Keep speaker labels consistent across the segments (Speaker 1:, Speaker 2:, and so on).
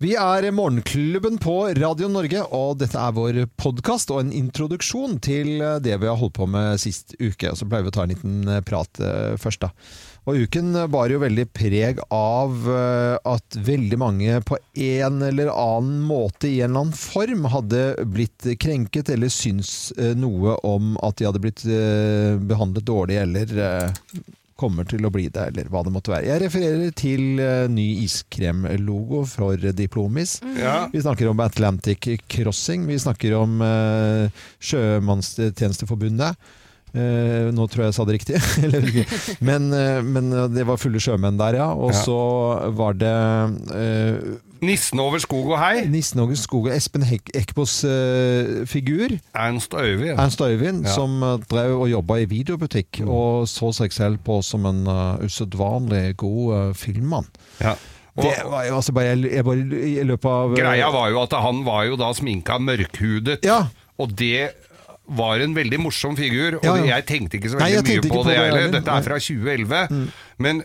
Speaker 1: Vi er Morgenklubben på Radio Norge, og dette er vår podkast og en introduksjon til eh, det vi har holdt på med sist uke. Så pleier vi å ta en liten prat eh, først, da. Og uken bar jo veldig preg av eh, at veldig mange på en eller annen måte i en eller annen form hadde blitt krenket eller syns eh, noe om at de hadde blitt eh, behandlet dårlig eller eh, kommer til å bli det, eller hva det måtte være. Jeg refererer til eh, ny iskremlogo for Diplomis.
Speaker 2: Ja.
Speaker 1: Vi snakker om Atlantic Crossing, vi snakker om eh, Sjømannstjenesteforbundet. Eh, nå tror jeg jeg sa det riktig. Eller ikke. men, eh, men det var fulle sjømenn der, ja. Og
Speaker 2: Ja.
Speaker 1: så var det eh,
Speaker 2: Nissen over skog og hei.
Speaker 1: Nissen Åge Skog og Espen Hek Eckbos eh, figur.
Speaker 2: Ernst Øyvind.
Speaker 1: Ernst Øyvind,
Speaker 2: Ja. Mm.
Speaker 1: som eh, drev og jobba i videobutikk, og så seg selv på som en eh, usedvanlig god eh, filmmann.
Speaker 2: Ja. Og
Speaker 1: Det var jo altså bare Jeg, jeg bare i løpet av eh,
Speaker 2: greia var jo at han var jo da sminka mørkhudet,
Speaker 1: Ja.
Speaker 2: og det var en veldig morsom figur, og
Speaker 1: Ja, ja.
Speaker 2: jeg tenkte ikke så
Speaker 1: Nei,
Speaker 2: veldig
Speaker 1: jeg tenkte
Speaker 2: mye på
Speaker 1: ikke
Speaker 2: det
Speaker 1: på det
Speaker 2: heller.
Speaker 1: heller. Mm.
Speaker 2: Dette er fra 2011. Men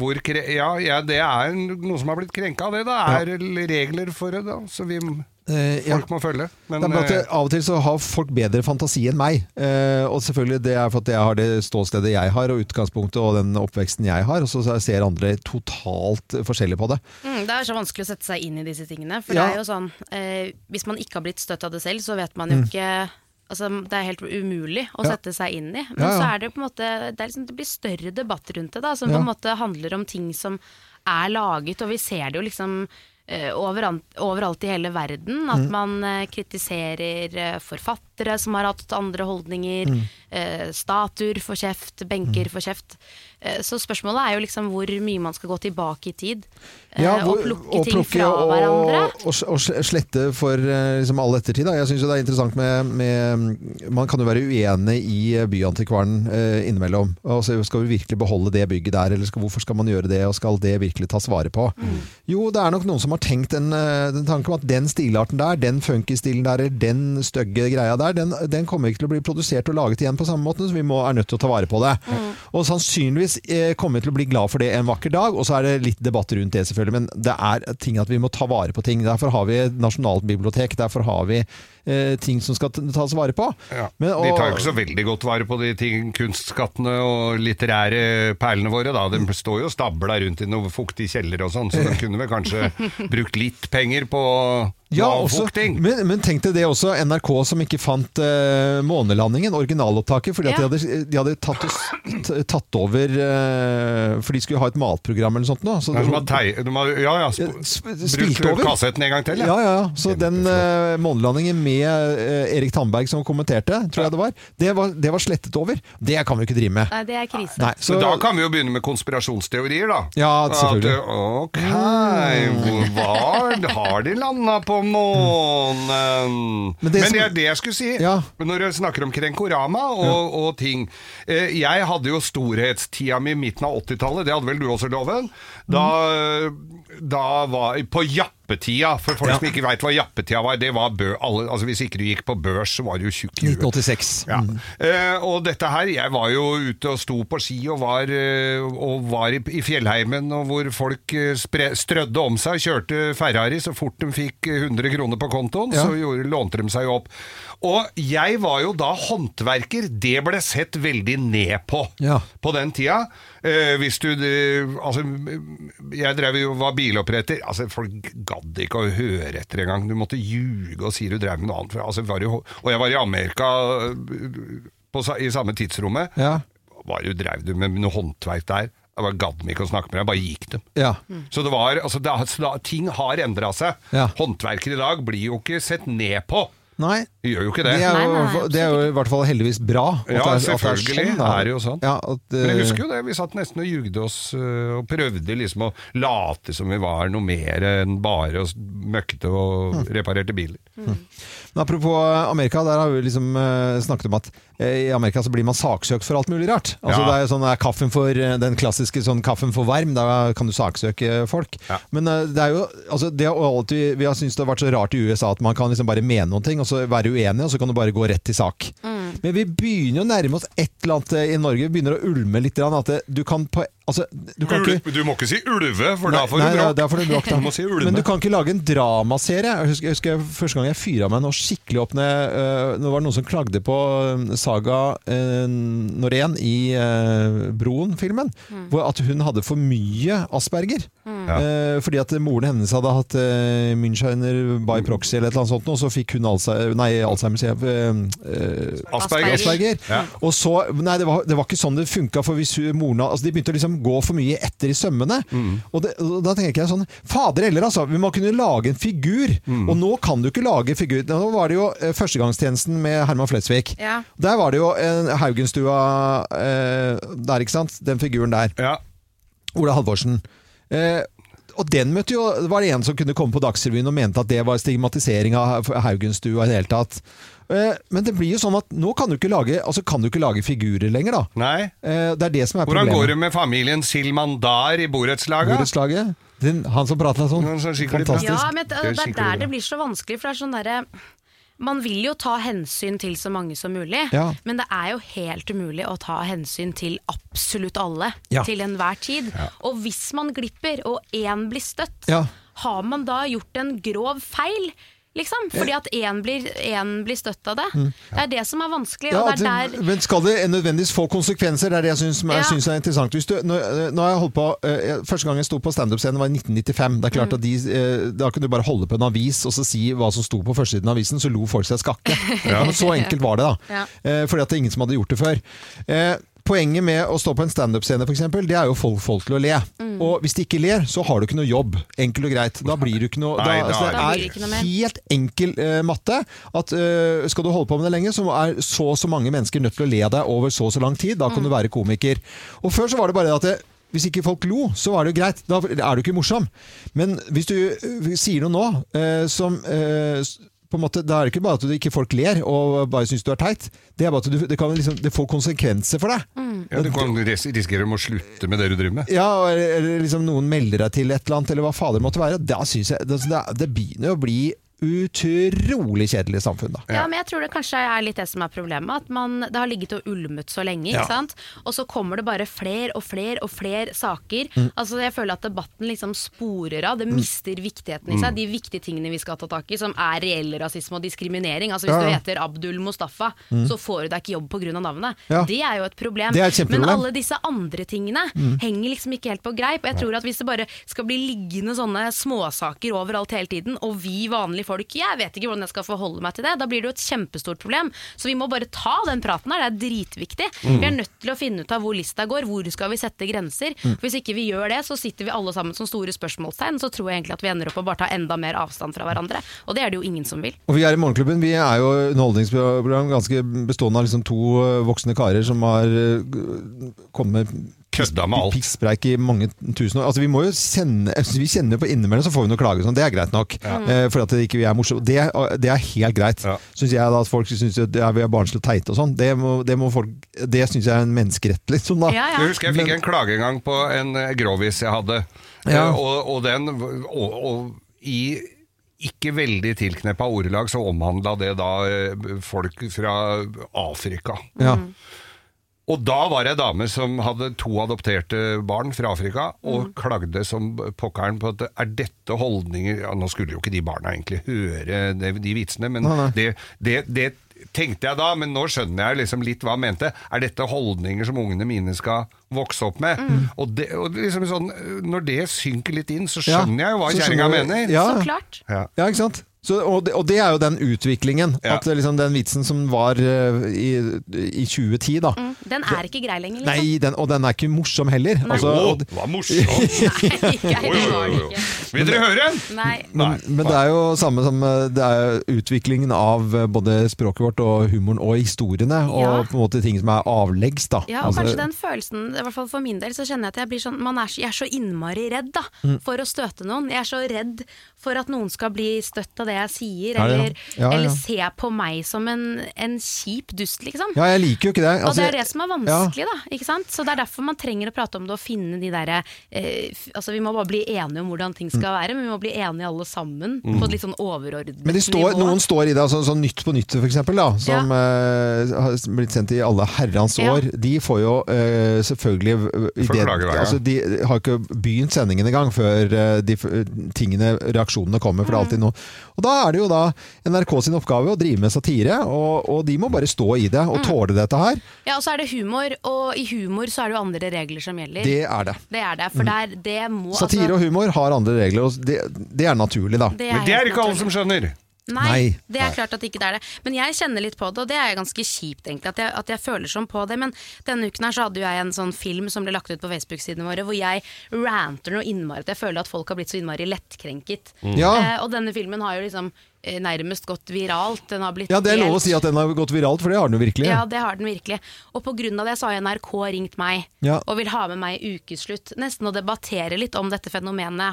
Speaker 2: hvor kre ja, ja, det er noe som har blitt krenka av det. Det er regler for det, da, så vi
Speaker 1: eh, ja.
Speaker 2: folk må følge. Men
Speaker 1: Det er bare at
Speaker 2: eh,
Speaker 1: det- Av og til så har folk bedre fantasi enn meg. Eh, og selvfølgelig det er for at jeg har det ståstedet jeg har, og utgangspunktet og den oppveksten jeg har. Og så ser andre totalt forskjellig på det.
Speaker 3: Mm, det er så vanskelig å sette seg inn i disse tingene. For
Speaker 1: Ja.
Speaker 3: det er jo sånn, eh, hvis man ikke har blitt støtt av det selv, så vet man jo ikke Altså, det er helt umulig å
Speaker 1: Mm. Ja.
Speaker 3: sette seg inn i. Men
Speaker 1: Ja, ja.
Speaker 3: så er det jo på en måte det, er liksom, det blir større debatt rundt det, da, som
Speaker 1: Ja.
Speaker 3: på en måte handler om ting som er laget, og vi ser det jo liksom eh, overalt, overalt i hele verden.
Speaker 1: Mm.
Speaker 3: At man eh, kritiserer eh, forfattere som har hatt andre holdninger.
Speaker 1: Mm.
Speaker 3: eh, statuer får kjeft, benker får kjeft. Eh, så spørsmålet er jo liksom hvor mye man skal gå tilbake i tid. eh,
Speaker 1: hvor-
Speaker 3: og plukke
Speaker 1: og
Speaker 3: ting
Speaker 1: plukke
Speaker 3: fra
Speaker 1: og-
Speaker 3: hverandre.
Speaker 1: Og, s- og s- slette for eh, liksom, all ettertid. Da. Jeg syns det er interessant med, med Man kan jo være uenig i Byantikvaren eh, innimellom. Altså, skal vi virkelig beholde det bygget der, eller skal, hvorfor skal man gjøre det? Og skal det virkelig tas vare på?
Speaker 3: Mm.
Speaker 1: Jo, det er nok noen som har tenkt en, eh, en tanke om at den stilarten der, den funky-stilen der, eller den stygge greia der, den, den kommer ikke til å bli produsert og laget igjen på samme måten, så vi må, er nødt til å ta vare på det. Og sannsynligvis eh, kommer vi til å bli glad for det en vakker dag, og så er det litt debatt rundt det selvfølgelig, men det er ting at vi må ta vare på ting. Derfor har vi et nasjonalt bibliotek, derfor har vi eh, ting som skal t- tas vare på.
Speaker 2: Ja.
Speaker 1: Men-
Speaker 2: de tar
Speaker 1: og-
Speaker 2: jo ikke så veldig godt vare på de ting, kunstskattene og litterære perlene våre. Da. De står jo stabla rundt i noen fuktige kjeller og sånn, så de kunne vel kanskje brukt litt penger på
Speaker 1: Ja, også,
Speaker 2: avfukting.
Speaker 1: men, men tenk deg det også, NRK som ikke fant eh, månelandingen, originalopptaket, fordi at
Speaker 3: Ja.
Speaker 1: de hadde, de hadde tatt, oss, t- tatt over eh, For de skulle ha et matprogram eller noe sånt nå. Så
Speaker 2: Nei, de har tei- de har- ja, ja,
Speaker 1: Ja,
Speaker 2: sp
Speaker 1: sp
Speaker 2: brukt
Speaker 1: spilt over.
Speaker 2: kassetten en gang til.
Speaker 1: Ja, ja, ja. Så den eh, månelandingen med eh, Erik Tandberg som kommenterte, tror jeg det var, det var, det var slettet over. Det kan vi ikke drive med.
Speaker 3: Nei, det er krise.
Speaker 1: Nei,
Speaker 2: Så da kan vi jo begynne med konspirasjonsteorier, da.
Speaker 1: Ja, selvfølgelig.
Speaker 2: At, eh, ok, hvor var Har de landa på månen?
Speaker 1: Men
Speaker 2: Men
Speaker 1: det
Speaker 2: det,
Speaker 1: som-
Speaker 2: er det jeg skulle si.
Speaker 1: Ja.
Speaker 2: Når du snakker om Krenkorama og, og ting eh, Jeg hadde jo storhetstida mi i midten av 80-tallet, det hadde vel du også, Loven? Da,
Speaker 1: Mm.
Speaker 2: da var På jappetida, for folk som ikke veit hva jappetida var, det var bø, alle, altså Hvis ikke du gikk på børs, så var du jo tjukk i huet.
Speaker 1: 1986.
Speaker 2: Ja. Eh, og dette her, jeg var jo ute og sto på ski og var, eh, og var i, i fjellheimen, og hvor folk eh, spre, strødde om seg, kjørte Ferrari så fort de fikk eh, 100 kroner på kontoen,
Speaker 1: Ja.
Speaker 2: så gjorde, lånte de seg jo opp. Og jeg var jo da håndverker, det ble sett veldig ned på
Speaker 1: Ja.
Speaker 2: på den tida. Eh, hvis du eh, Altså, jeg drev jo var biloppretter. Altså, folk gadd ikke å høre etter engang. Du måtte ljuge og si du drev med noe annet. For, altså, var jo, og jeg var i Amerika eh, på, sa- i samme tidsrommet.
Speaker 1: Ja.
Speaker 2: Hva er det du drev du med, med noe håndverk der? Jeg bare gadd meg ikke å snakke med deg, jeg bare gikk dem.
Speaker 1: Ja.
Speaker 2: Så det var, altså, det, har- så da, ting har endra seg.
Speaker 1: Ja.
Speaker 2: Håndverkere i dag blir jo ikke sett ned på.
Speaker 1: Nei.
Speaker 2: De gjør jo ikke
Speaker 1: Det
Speaker 2: det.
Speaker 1: er,
Speaker 3: Nei,
Speaker 1: jo,
Speaker 3: nei, absolutt
Speaker 1: det er jo i hvert fall heldigvis bra. at
Speaker 2: Ja,
Speaker 1: det er- at det er
Speaker 2: selvfølgelig
Speaker 1: sånn, da.
Speaker 2: er det jo sånn.
Speaker 1: Ja, at,
Speaker 2: Men jeg
Speaker 1: eh,
Speaker 2: husker jo det, vi satt nesten og jugde oss øh, og prøvde liksom å late som vi var noe mer enn bare å s- møkkete og
Speaker 1: Mm.
Speaker 2: reparerte biler.
Speaker 1: Men apropos eh, Amerika, der har vi liksom eh, snakket om at eh, i Amerika så blir man saksøkt for alt mulig rart. Altså
Speaker 2: Ja.
Speaker 1: det er jo sånn, er kaffen for, eh, Den klassiske sånn kaffen for varm, da kan du saksøke folk.
Speaker 2: Ja.
Speaker 1: Men eh, det er jo altså det har alltid, Vi har syntes det har vært så rart i USA at man kan liksom bare mene noen ting, og så være uenig, og så kan du bare gå rett til sak. Men vi begynner jo å nærme oss et eller annet eh, i Norge. Vi begynner å ulme litt. grann, At det, du kan på Altså, du kan ikke
Speaker 2: Ulv- Du må ikke si ulve, for da får
Speaker 1: Nei,
Speaker 2: du
Speaker 1: nei, da
Speaker 2: bråk.
Speaker 1: får du bråk, da.
Speaker 2: Du må si ulme.
Speaker 1: Men du kan ikke lage en dramaserie. Jeg husker, jeg husker første gang jeg fyra meg nå skikkelig opp når jeg, øh, Nå var det noen som klagde på øh, Saga øh, Norén i øh, Broen-filmen. hvor At hun hadde for mye asperger.
Speaker 2: Ja.
Speaker 1: Eh, fordi at moren hennes hadde hatt uh, Münchheimer by proxy eller et eller annet sånt, nå, og så fikk hun Alzheimer, nei, Alzheimer sier jeg, øh, øh,
Speaker 2: Asperger.
Speaker 1: Asperger.
Speaker 2: Ja.
Speaker 1: Og så, nei, det var, det var ikke sånn det funka. For hvis hun- moren altså, De begynte å liksom gå for mye etter i sømmene. Og, det, og da tenker jeg sånn Fader heller, altså! Vi må kunne lage en figur. Og nå kan du ikke lage figur. Nå var det jo eh, Førstegangstjenesten med Herman Flesvig.
Speaker 3: Ja.
Speaker 1: Der var det jo en Haugenstua eh, der, ikke sant? Den figuren der.
Speaker 2: Ja.
Speaker 1: Ola Halvorsen. Eh, og den møtte jo, var det en som kunne komme på Dagsrevyen og mente at det var stigmatisering av Haugenstua i det hele tatt. Eh, men det blir jo sånn at nå kan du ikke lage, altså kan du ikke lage figurer lenger, da.
Speaker 2: Nei.
Speaker 1: Eh, det er det som er
Speaker 2: Hvordan går det
Speaker 1: problemet.
Speaker 2: med familien Silmandar i borettslaget?
Speaker 1: Borettslaget. Den- Han som prater sånn.
Speaker 2: Han som er skikkelig bra.
Speaker 1: Fantastisk.
Speaker 3: Ja, men det,
Speaker 2: Det er
Speaker 3: det er
Speaker 2: skikkelig bra.
Speaker 3: der det blir så vanskelig, for det er sånn derre man vil jo ta hensyn til så mange som mulig,
Speaker 1: Ja.
Speaker 3: men det er jo helt umulig å ta hensyn til absolutt alle
Speaker 1: Ja.
Speaker 3: til enhver tid. Og hvis man glipper, og én blir støtt,
Speaker 1: Ja.
Speaker 3: har man da gjort en grov feil? Liksom, fordi
Speaker 1: Eh.
Speaker 3: at én blir, en blir støtt av det. Det er det som er
Speaker 1: Mm.
Speaker 3: vanskelig.
Speaker 1: Ja, altså,
Speaker 3: og
Speaker 1: at
Speaker 3: det er
Speaker 1: det,
Speaker 3: der
Speaker 1: men skal det nødvendigvis få konsekvenser? Det er det jeg syns
Speaker 3: Ja.
Speaker 1: jeg syns er interessant. Hvis du, nå, nå har jeg holdt på, eh, jeg- Første gang jeg sto på standup-scenen var i 1995. Det er
Speaker 3: Mm.
Speaker 1: klart at de, eh, Da kunne du bare holde på en avis og så si hva som sto på førstesiden av avisen, så lo folk seg skakke. Men Så enkelt var det, da. Eh, Fordi at det er ingen som hadde gjort det før. Eh, Poenget med å stå på en standup-scene, for eksempel, det er jo å få folk til å le.
Speaker 3: Mm.
Speaker 1: Og hvis de ikke ler, så har du ikke noe jobb. Enkelt og greit. Da blir du ikke noe
Speaker 2: Nei,
Speaker 1: da,
Speaker 2: da-
Speaker 1: altså,
Speaker 3: Da blir
Speaker 1: Det
Speaker 3: det ikke noe
Speaker 1: er
Speaker 3: mer.
Speaker 1: helt enkel eh, matte. At eh, skal du holde på med det lenge, så er så og så mange mennesker nødt til å le av deg over så og så lang tid. Da kan du være komiker. Og før så var det bare det at det, hvis ikke folk lo, så var det jo greit. Da er du ikke morsom. Men hvis du eh, sier noe nå eh, som eh, s- på en måte, Da er det ikke bare at du ikke folk ler og bare syns du er teit. Det er bare at du, det, kan liksom, det får konsekvenser for deg.
Speaker 2: Ja, du kan ris- risikere å slutte med det du driver med.
Speaker 1: Ja, eller, eller liksom noen melder deg til et eller annet, eller hva fader måtte være. Da synes jeg, det, det, det begynner jo å bli utrolig kjedelig samfunn, da.
Speaker 3: Ja, men jeg tror det kanskje er litt det som er problemet. At man, det har ligget og ulmet så lenge.
Speaker 1: Ja.
Speaker 3: ikke sant? Og så kommer det bare flere og flere og flere saker.
Speaker 1: Mm.
Speaker 3: Altså Jeg føler at debatten liksom sporer av. Det mister viktigheten i
Speaker 1: Mm.
Speaker 3: seg. De viktige tingene vi skal ta tak i, som er reell rasisme og diskriminering. Altså Hvis
Speaker 1: Ja, ja.
Speaker 3: du heter Abdul Mustafa, så får du deg ikke jobb pga. navnet.
Speaker 1: Ja.
Speaker 3: Det er jo et problem.
Speaker 1: Det er et kjempeproblem. Mm.
Speaker 3: Men alle disse andre tingene henger liksom ikke helt på greip. Og jeg tror at hvis det bare skal bli liggende sånne småsaker overalt hele tiden, og vi vanlige folk Jeg vet ikke hvordan jeg skal forholde meg til det. Da blir det jo et kjempestort problem. Så vi må bare ta den praten her. Det er dritviktig.
Speaker 1: Mm.
Speaker 3: Vi er nødt til å finne ut av hvor lista går. Hvor skal vi sette grenser?
Speaker 1: Mm.
Speaker 3: Hvis ikke vi gjør det, så sitter vi alle sammen som store spørsmålstegn. Så tror jeg egentlig at vi ender opp med å bare ta enda mer avstand fra hverandre. Og det er det jo ingen som vil.
Speaker 1: Og vi er i Morgenklubben. Vi er jo underholdningsprogram ganske bestående av liksom to eh, voksne karer som har eh, g- kommet med
Speaker 2: Kødda med alt.
Speaker 1: pikkpreik i mange tusen år. Altså, vi må jo sende, altså, vi kjenner jo på innimellom, så får vi noen klager. og Sånn. Det er greit nok. Eh, for at det ikke vi er morsomme. Det, det er helt greit.
Speaker 2: Ja.
Speaker 1: Synes jeg da at folk syns at det er- vi er barnslige og teite og sånn. Det, må, det, må folk- det syns jeg er en menneskerett, liksom. Da.
Speaker 3: Ja, ja.
Speaker 2: Jeg husker jeg fikk
Speaker 1: Men-
Speaker 2: en klage en gang på en eh, grovis jeg hadde.
Speaker 1: Ja.
Speaker 2: Eh, Og, og den og, og, i ikke veldig tilkneppa ordelag så omhandla det da eh, folk fra Afrika.
Speaker 1: Ja.
Speaker 3: Mm.
Speaker 2: Og da var det ei dame som hadde to adopterte barn fra Afrika,
Speaker 1: Mm.
Speaker 2: og klagde som pokkeren på at er dette holdninger ja, Nå skulle jo ikke de barna egentlig høre de, de vitsene, men
Speaker 1: Nei, nei.
Speaker 2: Det, det, det tenkte jeg da, men nå skjønner jeg liksom litt hva han mente. Er dette holdninger som ungene mine skal vokse opp med?
Speaker 1: Mm.
Speaker 2: Og, det, og liksom sånn, når det synker litt inn, så
Speaker 1: Ja.
Speaker 2: skjønner jeg jo hva
Speaker 1: Så
Speaker 2: kjerringa
Speaker 1: skjønner du-
Speaker 2: mener.
Speaker 1: Ja.
Speaker 3: Så klart.
Speaker 2: Ja.
Speaker 1: Ja, ikke sant? Så, og, det, og det er jo den utviklingen.
Speaker 2: Ja.
Speaker 1: At liksom den vitsen som var eh, i, i 2010, da.
Speaker 3: Mm. Den er ikke grei lenger, liksom.
Speaker 1: Nei, den, og den er ikke morsom heller. Altså,
Speaker 2: jo,
Speaker 1: og,
Speaker 2: det var morsomt!
Speaker 3: Ikke,
Speaker 2: Jo, jo,
Speaker 3: var det
Speaker 2: jo, jo.
Speaker 3: ikke.
Speaker 2: Vil dere høre?
Speaker 3: Nei.
Speaker 1: men, men det er jo samme som eh, det er jo utviklingen av eh, både språket vårt og humoren og historiene, og
Speaker 3: Ja.
Speaker 1: på en måte ting som er avleggs, da.
Speaker 3: Ja, og
Speaker 1: Altså,
Speaker 3: kanskje den følelsen, i hvert fall for min del, så kjenner jeg at jeg blir sånn man er, så-
Speaker 1: Mm.
Speaker 3: Jeg er så innmari redd da, for å støte noen. Jeg er så redd for at noen skal bli støtt av det det jeg sier,
Speaker 1: Er det, ja?
Speaker 3: eller,
Speaker 1: Ja, ja.
Speaker 3: eller se på meg som en, en kjip dust, liksom.
Speaker 1: Ja, jeg liker jo ikke det.
Speaker 3: og
Speaker 1: Altså,
Speaker 3: det er det som er vanskelig, da. Ikke sant? Så det er derfor man trenger å prate om det og finne de derre eh, f- Altså, vi må bare bli enige om hvordan ting skal være, men vi må bli enige alle sammen på et litt sånn overordnet
Speaker 1: Mm. Men de står,
Speaker 3: nivå.
Speaker 1: noen står i det, altså, sånn Nytt på nytt f.eks., som eh, har blitt sendt i alle herrens
Speaker 3: Ja.
Speaker 1: år. De får jo eh, selvfølgelig i
Speaker 2: Får
Speaker 1: det-
Speaker 2: klage hver gang.
Speaker 1: altså, De har ikke begynt sendingen engang før eh, de f- tingene, reaksjonene kommer. For det er
Speaker 3: Mm.
Speaker 1: alltid noe. Og da er det jo da NRK sin oppgave å drive med satire, og, og de må bare stå i det
Speaker 3: Mm.
Speaker 1: og tåle dette her.
Speaker 3: Ja, og så er det humor, og i humor så er det jo andre regler som gjelder. Det,
Speaker 1: Det er det.
Speaker 3: er det, for der, det må
Speaker 1: Satire og humor har andre regler, og det, det er naturlig, da.
Speaker 3: det
Speaker 2: Men det
Speaker 3: helt
Speaker 2: er ikke alle som
Speaker 3: naturlig.
Speaker 2: skjønner.
Speaker 3: Nei,
Speaker 1: Nei.
Speaker 3: det er klart at ikke det er det. Men jeg kjenner litt på det, og det er ganske kjipt egentlig, at jeg, at jeg føler sånn på det. Men denne uken her så hadde jo jeg en sånn film som ble lagt ut på Facebook-sidene våre, hvor jeg ranter noe innmari. At jeg føler at folk har blitt så innmari lettkrenket.
Speaker 1: Ja.
Speaker 3: Eh, og denne filmen har jo liksom eh, nærmest gått viralt. Den har blitt
Speaker 1: ja, det er lov å
Speaker 3: delt.
Speaker 1: si at den har gått viralt, for det har den jo virkelig.
Speaker 3: Ja, det har den virkelig. Og pga. det så har NRK ringt meg
Speaker 1: Ja.
Speaker 3: og vil ha med meg i ukeslutt. Nesten å debattere litt om dette fenomenet.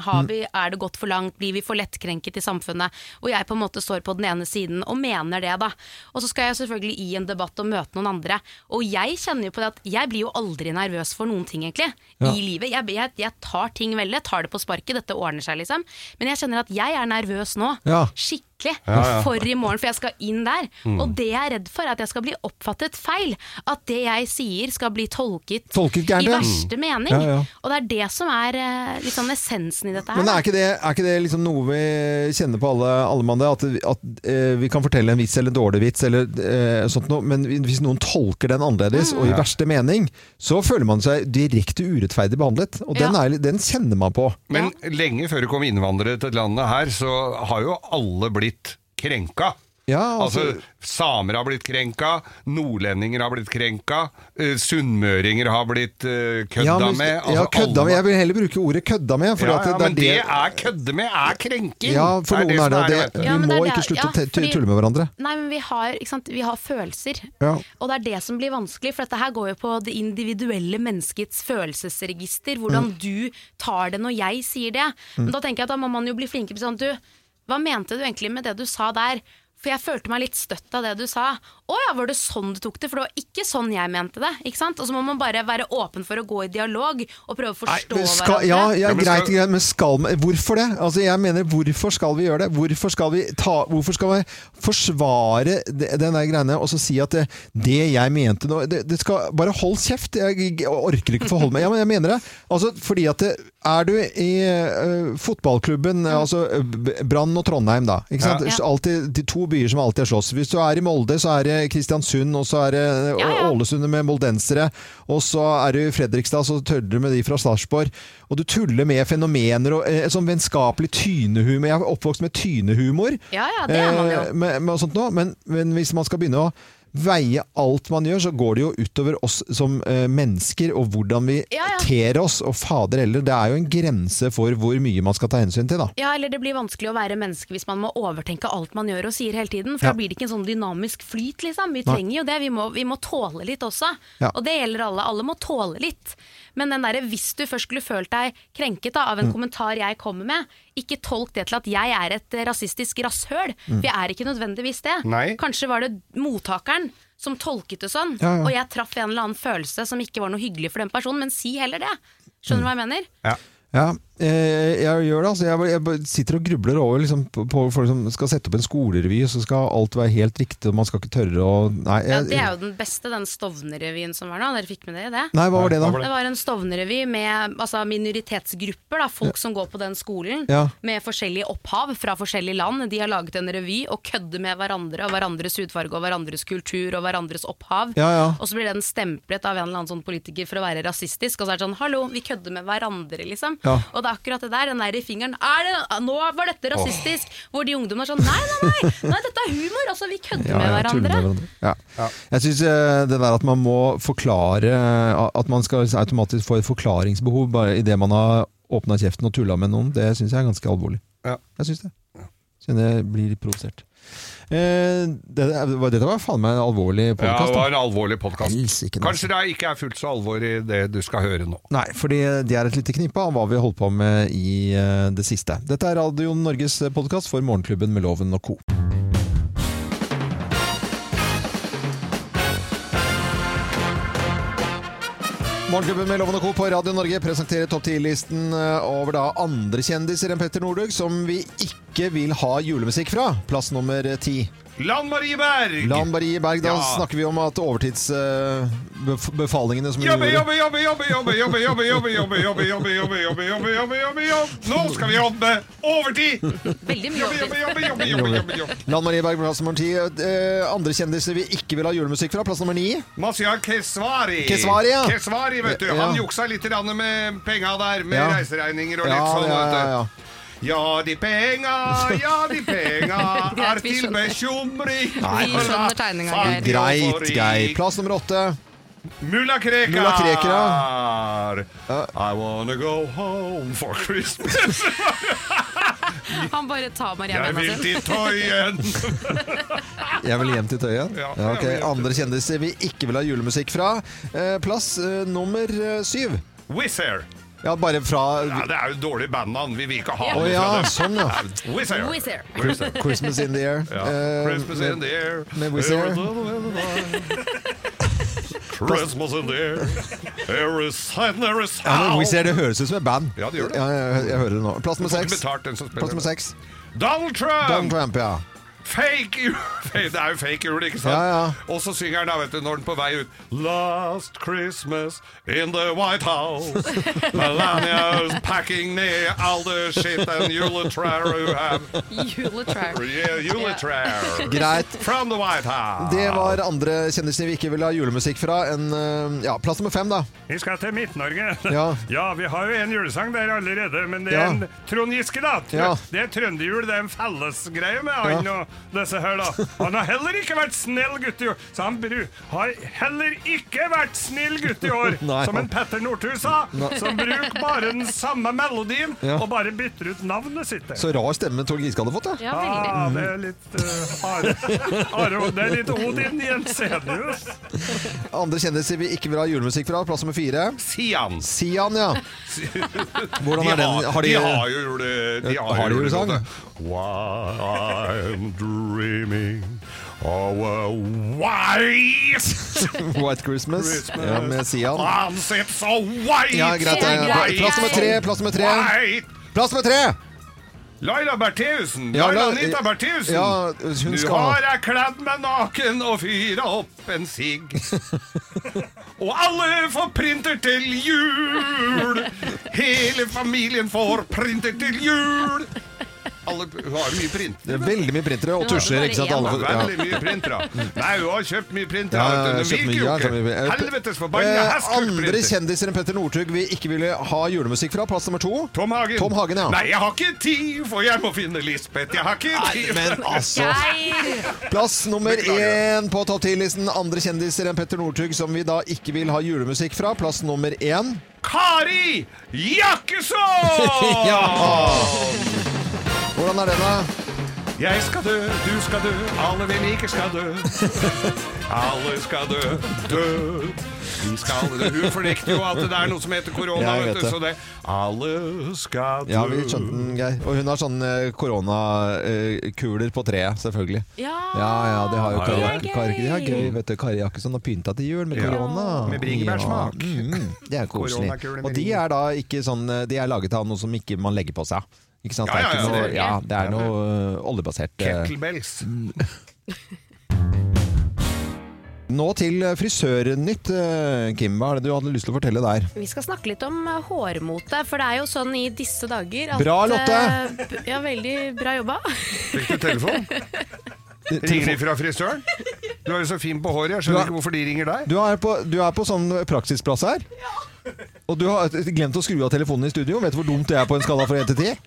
Speaker 1: Mm.
Speaker 3: Har vi, er det gått for langt? Blir vi for lettkrenket i samfunnet? Og jeg på en måte står på den ene siden og mener det, da. Og så skal jeg selvfølgelig i en debatt og møte noen andre. Og jeg kjenner jo på det at jeg blir jo aldri nervøs for noen ting, egentlig.
Speaker 1: Ja.
Speaker 3: I livet. Jeg, jeg, jeg tar ting veldig, jeg tar det på sparket, dette ordner seg, liksom. Men jeg kjenner at jeg er nervøs nå.
Speaker 1: Ja. Mm.
Speaker 3: Skikkelig for i morgen, for jeg skal inn der. Og det jeg er redd for, er at jeg skal bli oppfattet feil. At det jeg sier skal bli tolket,
Speaker 1: Tolket gærent,
Speaker 3: i
Speaker 1: ja.
Speaker 3: verste mening.
Speaker 1: Ja, ja.
Speaker 3: Og det er det som er eh, litt sånn essensen i dette her.
Speaker 1: Men
Speaker 3: da.
Speaker 1: er ikke det, er ikke det liksom noe vi kjenner på alle, alle mann, det? At, vi- at eh, vi kan fortelle en vits eller en dårlig vits, eller, eh, sånt noe, men hvis noen tolker den annerledes,
Speaker 3: Mm.
Speaker 1: og i verste mening, så føler man seg direkte urettferdig behandlet. Og den,
Speaker 3: Ja.
Speaker 1: er, den kjenner man på.
Speaker 2: Men lenge før det kom innvandrere til landet her, så har jo alle blitt krenka.
Speaker 1: Ja,
Speaker 2: altså,
Speaker 1: altså-
Speaker 2: Samer har blitt krenka, nordlendinger har blitt krenka, eh, sunnmøringer har blitt eh, kødda
Speaker 1: Ja, men-
Speaker 2: med. Altså,
Speaker 1: ja, kødda
Speaker 2: alle-
Speaker 1: med. Jeg vil heller bruke ordet kødda med. For
Speaker 2: ja,
Speaker 1: at det
Speaker 2: ja,
Speaker 1: er
Speaker 2: men det er kødde med, er krenking!
Speaker 1: Ja, for
Speaker 2: Det
Speaker 1: noen er det, og
Speaker 2: som vet du.
Speaker 1: det,
Speaker 3: Ja,
Speaker 1: vi
Speaker 3: men
Speaker 1: må
Speaker 3: det er det-
Speaker 1: ikke slutte
Speaker 3: ja,
Speaker 1: å te-
Speaker 3: fordi-
Speaker 1: tulle med hverandre.
Speaker 3: Nei, men vi har, ikke sant? vi har følelser.
Speaker 1: Ja.
Speaker 3: Og det er det som blir vanskelig, for dette her går jo på det individuelle menneskets følelsesregister.
Speaker 1: Mm.
Speaker 3: Hvordan du tar det når jeg sier det. Men da tenker jeg at da må man jo bli flinkere på sånn Du, hva mente du egentlig med det du sa der? For jeg følte meg litt støtt av det du sa. Å ja, var det sånn du tok det? For det var ikke sånn jeg mente det. ikke sant? Og så må man bare være åpen for å gå i dialog og prøve å forstå
Speaker 1: Men skal,
Speaker 3: hverandre.
Speaker 1: ja, ja,
Speaker 2: Ja, men
Speaker 1: greit,
Speaker 2: skal-
Speaker 1: greit, men skal man- Hvorfor det? Altså, jeg mener, hvorfor skal vi gjøre det? Hvorfor skal vi, ta, hvorfor skal vi forsvare de- den der greiene og så si at det, det jeg mente nå det, det skal, Bare hold kjeft! Jeg, jeg orker ikke forholde meg. Ja, men jeg mener det. Altså, fordi at det, er du i øh, fotballklubben, altså øh, B- Brann og Trondheim, da. Ikke sant?
Speaker 2: Ja.
Speaker 3: Ja.
Speaker 1: Alltid, de to byer som alltid har slåss. Hvis du er i Molde, så er det Kristiansund, og så er det øh,
Speaker 3: Ja, ja.
Speaker 1: Ålesund med moldensere, og så er du i Fredrikstad, så tøller du med de fra Sarpsborg. Og du tuller med fenomener og eh, sånn vennskapelig tynehumor. Jeg er oppvokst med tynehumor.
Speaker 3: Ja, ja, det er man jo.
Speaker 1: eh, med, med sånt nå. Men, men hvis man skal begynne å veie alt man gjør, så går det jo utover oss som eh, mennesker og hvordan vi
Speaker 3: Ja, ja.
Speaker 1: ter oss. Og fader heller, det er jo en grense for hvor mye man skal ta hensyn til, da.
Speaker 3: Ja, eller det blir vanskelig å være menneske hvis man må overtenke alt man gjør og sier hele tiden. For
Speaker 1: Ja.
Speaker 3: da blir det ikke en sånn dynamisk flyt, liksom. Vi trenger jo det. Vi må, vi må tåle litt også.
Speaker 1: Ja.
Speaker 3: Og det gjelder alle. Alle må tåle litt. Men den derre hvis du først skulle følt deg krenket da,
Speaker 1: Mm.
Speaker 3: av en kommentar jeg kommer med, ikke tolk det til at jeg er et eh, rasistisk rasshøl.
Speaker 1: Mm.
Speaker 3: For jeg er ikke nødvendigvis det.
Speaker 2: Nei.
Speaker 3: Kanskje var det mottakeren som tolket det sånn,
Speaker 1: Ja, ja.
Speaker 3: og jeg traff en eller annen følelse som ikke var noe hyggelig for den personen, men si heller det.
Speaker 1: Mm.
Speaker 3: Skjønner du hva jeg mener?
Speaker 2: Ja.
Speaker 1: Ja, eh, jeg gjør det. Altså, jeg, jeg bare sitter og grubler over liksom, på, på folk som skal sette opp en skolerevy, og så skal alt være helt riktig, og man skal ikke tørre å Nei,
Speaker 3: Ja,
Speaker 1: jeg,
Speaker 3: det er jo den beste, den Stovner-revyen som var nå. Dere fikk med dere det?
Speaker 1: nei hva var det,
Speaker 2: Nei, hva
Speaker 1: da?
Speaker 2: var
Speaker 3: Det var en Stovner-revy med altså, minoritetsgrupper, da, folk som går på den skolen,
Speaker 1: Ja.
Speaker 3: med forskjellige opphav fra forskjellige land. De har laget en revy og kødder med hverandre og hverandres hudfarge og hverandres kultur og hverandres opphav.
Speaker 1: Ja, ja.
Speaker 3: Og så blir den stemplet av en eller annen sånn politiker for å være rasistisk, og så er det sånn 'hallo, vi kødder med hverandre', liksom.
Speaker 1: Ja.
Speaker 3: Og det er akkurat det der, den der i fingeren er det, ah, 'nå var dette rasistisk', hvor de ungdommene er sånn 'nei, nei, nei, nei, dette er humor', altså, vi kødder
Speaker 1: Ja,
Speaker 3: med
Speaker 1: ja, tuller
Speaker 3: hverandre.
Speaker 1: Ja. Jeg syns eh, det der at man må forklare At man skal automatisk få et forklaringsbehov bare idet man har åpna kjeften og tulla med noen, det syns jeg er ganske alvorlig.
Speaker 2: Ja.
Speaker 1: Jeg syns det. Kjenner jeg blir litt provosert. Eh, det, det- dette var faen meg en alvorlig
Speaker 2: Ja, det
Speaker 1: podkast.
Speaker 2: var en alvorlig podkast.
Speaker 1: Helsike, altså.
Speaker 2: Kanskje det ikke er fullt så alvor i det du skal høre nå.
Speaker 1: Nei, fordi det er et lite knippe av hva vi holdt på med i eh, det siste. Dette er Radio Norges podkast for Morgenklubben med Loven og co. Morgenklubben med Loven og Co. på Radio Norge presenterer topp 10-listen over da andre kjendiser enn Petter Northug som vi ikke vil ha julemusikk fra. Plass nummer ti.
Speaker 2: Lan Marie Berg!
Speaker 1: Lan Marie Berg. Da
Speaker 2: Ja.
Speaker 1: snakker vi om at overtidsbefalingene som hun
Speaker 2: Jobbe,
Speaker 1: gjorde
Speaker 2: jobbe, jobbe, jobbe, jobbe, jobbe, jobbe, jobbe, jobbe, jobbe, jobbe, jobbe, jobbe, jobbe, jobbe, jobbe, jobbe. Nå skal vi jobbe overtid!
Speaker 3: Veldig mye
Speaker 2: Jobbe,
Speaker 3: overtid.
Speaker 2: jobbe, jobbe, jobbe, jobbe, jobbe, jobbe.
Speaker 1: Lan Marie Berg, plass nummer ti. Eh, andre kjendiser vi ikke vil ha julemusikk fra, plass nummer ni.
Speaker 2: Masya Kesvari.
Speaker 1: Kesvari, ja.
Speaker 2: Kesvari, vet du. Han
Speaker 1: Ja.
Speaker 2: juksa litt grann med penga der, med
Speaker 1: Ja.
Speaker 2: reiseregninger og litt sånn.
Speaker 1: ja,
Speaker 2: vet
Speaker 1: ja,
Speaker 2: du.
Speaker 1: ja.
Speaker 2: Ja, de penga, ja, de penga er
Speaker 3: Greit, vi
Speaker 2: til
Speaker 3: skjønner.
Speaker 2: bekymring.
Speaker 3: Vi skjønner tegninga, Geir.
Speaker 2: Fattig og
Speaker 1: Greit,
Speaker 2: rik.
Speaker 1: Geir. Plass nummer åtte.
Speaker 2: Mulla Krekar.
Speaker 1: Mulla
Speaker 2: I wanna go home for Christmas.
Speaker 3: Han bare tar Maria
Speaker 2: Jeg
Speaker 3: Mena
Speaker 2: vil
Speaker 1: altså-
Speaker 3: sin.
Speaker 2: til Tøyen.
Speaker 1: Jeg vil hjem til Tøyen.
Speaker 2: Ja,
Speaker 1: Ja, ok.
Speaker 2: jeg vil hjem til-
Speaker 1: Andre kjendiser vi ikke vil ha julemusikk fra, eh, plass eh, nummer eh, syv.
Speaker 2: Wizz Air.
Speaker 1: Ja, bare
Speaker 2: Ja,
Speaker 1: fra
Speaker 2: det er jo dårlig bandnavn. Vi vil ikke ha
Speaker 1: Å
Speaker 2: noe
Speaker 1: ja,
Speaker 2: fra dem.
Speaker 1: sånn ja.
Speaker 2: Wizz Air.
Speaker 3: Wizz Air.
Speaker 2: Wizz Air.
Speaker 1: Christmas in the air.
Speaker 2: Ja.
Speaker 1: Eh,
Speaker 2: Christmas in the air.
Speaker 1: med Wizz Air.
Speaker 2: Christmas in the air. There is, there is
Speaker 1: ja, men
Speaker 2: howl.
Speaker 1: Wizz Air, det høres ut som et band.
Speaker 2: Ja, det gjør det.
Speaker 1: Ja, jeg, jeg hører det nå. Plass nummer
Speaker 2: Får ikke
Speaker 1: seks.
Speaker 2: betalt, den som spiller
Speaker 1: Plass nummer
Speaker 2: det.
Speaker 1: seks.
Speaker 2: Donald Trump!
Speaker 1: Donald Trump, ja.
Speaker 2: Fake jul! Det er jo fake jul, ikke sant?
Speaker 1: Ja, ja.
Speaker 2: Og så synger han da, vet du, når han er på vei ut Last Christmas in the White House Melania's packing ned all the shit and juletrær you have
Speaker 3: Juletrær.
Speaker 2: yeah, Juletrær
Speaker 1: Greit.
Speaker 2: From the White House
Speaker 1: Det var andre kjendiser vi ikke vil ha julemusikk fra. En, eh, ja, plass nummer fem, da.
Speaker 2: Vi skal til Midt-Norge.
Speaker 1: Ja.
Speaker 2: vi har jo en julesang der allerede, men det
Speaker 1: Ja.
Speaker 2: er en Trond Giske, da. Tr-
Speaker 1: Ja.
Speaker 2: Det er trønderjul, det er en fellesgreie med han
Speaker 1: Ja.
Speaker 2: og disse her, da. Han har heller ikke vært snill gutt i år, så han bru har heller ikke vært snill gutt i år,
Speaker 1: Nei.
Speaker 2: som en Petter Northug sa, som bruker bare den samme melodien
Speaker 1: Ja.
Speaker 2: og bare bytter ut navnet sitt.
Speaker 1: Så rar stemme Trond Giske hadde fått, da.
Speaker 3: Ja, veldig.
Speaker 2: Ah, det er litt uh, Are, Are, Det er litt Odin Jensenius.
Speaker 1: Andre kjendiser vi ikke vil ha julemusikk fra, plass nummer fire.
Speaker 2: Sian.
Speaker 1: Sian, ja. Hvordan
Speaker 2: de
Speaker 1: er den?
Speaker 2: Har,
Speaker 1: Har
Speaker 2: de,
Speaker 1: de, Eh,
Speaker 2: har jo jule... De har,
Speaker 1: har de
Speaker 2: jo
Speaker 1: julesang?
Speaker 2: julelåter. I'm dreaming of a white
Speaker 1: White Christmas,
Speaker 2: Christmas. Ah.
Speaker 1: Ja, med Sian?
Speaker 2: Hans, it's so white!
Speaker 1: Ja, greit.
Speaker 3: Ja,
Speaker 1: Ja,
Speaker 3: greit.
Speaker 1: Plass nummer tre, plass nummer tre.
Speaker 2: White.
Speaker 1: Plass nummer tre!
Speaker 2: Laila Bertheussen!
Speaker 1: Ja,
Speaker 2: Laila
Speaker 1: la-
Speaker 2: Anita Bertheussen!
Speaker 1: Ja, hun
Speaker 2: Nå
Speaker 1: skal ha
Speaker 2: har jeg kledd meg naken og fyra opp en sigg. og alle får printer til jul! Hele familien får printer til jul! Alle hun har mye print.
Speaker 1: Det er veldig mye printere og
Speaker 3: Hun hadde
Speaker 1: tusjer.
Speaker 3: bare
Speaker 1: ikke sant?
Speaker 3: én,
Speaker 1: Alle,
Speaker 3: da.
Speaker 1: får-
Speaker 2: Veldig mye printere. Nei, hun har kjøpt mye printere.
Speaker 1: Mm. ja.
Speaker 2: vet
Speaker 1: Ja,
Speaker 2: du. Den
Speaker 1: kjøpt mye,
Speaker 2: virker
Speaker 1: ja,
Speaker 2: jo
Speaker 1: kjøpt mye.
Speaker 2: ikke.
Speaker 1: Eh,
Speaker 2: Helvetes forbanna
Speaker 1: eh, Andre
Speaker 2: hestkukprinter.
Speaker 1: kjendiser enn Petter Northug vi ikke vil ha julemusikk fra, plass nummer to.
Speaker 2: Tom Hagen.
Speaker 1: Tom Hagen, ja.
Speaker 2: Nei, jeg har ikke tid, for jeg må finne Lisbeth. Jeg har ikke
Speaker 1: Nei,
Speaker 2: tid.
Speaker 1: men altså
Speaker 3: Geir!
Speaker 1: Plass nummer
Speaker 2: Beklager.
Speaker 1: én på topp 10-listen. Andre kjendiser enn Petter Northug som vi da ikke vil ha julemusikk fra. Plass nummer én.
Speaker 2: Kari Jakkesson!
Speaker 1: Hvordan er den, da?
Speaker 2: Jeg skal dø, du skal dø, alle vi liker skal dø. Alle skal dø, død. Vi skal dø. Hun fornekter jo at det er noe som heter korona,
Speaker 1: Ja, jeg vet
Speaker 2: vet du.
Speaker 1: det.
Speaker 2: Så det Alle skal dø.
Speaker 1: Ja, vi skjønte den, Geir. Og hun har sånne eh, koronakuler på treet, selvfølgelig. Mm.
Speaker 3: Ja,
Speaker 1: Ja, ja, det har jo
Speaker 2: Ja,
Speaker 1: Kari
Speaker 2: ja.
Speaker 1: Jakke- Kari Det er gøy, vet du. Kari Jakkesson har pynta til jul med
Speaker 2: Ja.
Speaker 1: korona.
Speaker 2: Med bringebærsmak.
Speaker 1: Ja, mm, det er koselig.
Speaker 2: Koronakuler med
Speaker 1: Og de er da ikke sånn De er laget av noe som ikke man legger på seg. Ikke sant?
Speaker 2: Ja, ja,
Speaker 1: det, er
Speaker 2: ja,
Speaker 1: ikke noe,
Speaker 2: det-
Speaker 1: ja, det er noe øh, oljebasert øh,
Speaker 2: Kettlebells.
Speaker 1: Nå til frisørnytt, eh, Kim. Hva er det du hadde lyst til å fortelle der?
Speaker 3: Vi skal snakke litt om eh, hårmote, for det er jo sånn i disse dager at
Speaker 1: Bra, Lotte!
Speaker 3: eh, b- Ja, veldig bra jobba.
Speaker 2: Fikk du telefon? Ringer de fra frisøren? Du er jo så fin på håret, jeg skjønner ikke hvorfor de ringer deg.
Speaker 1: Du er på, du er på sånn praksisplass her. Og du har glemt å skru av telefonen i studio. Vet du hvor dumt det er på en skala fra 1 til 10?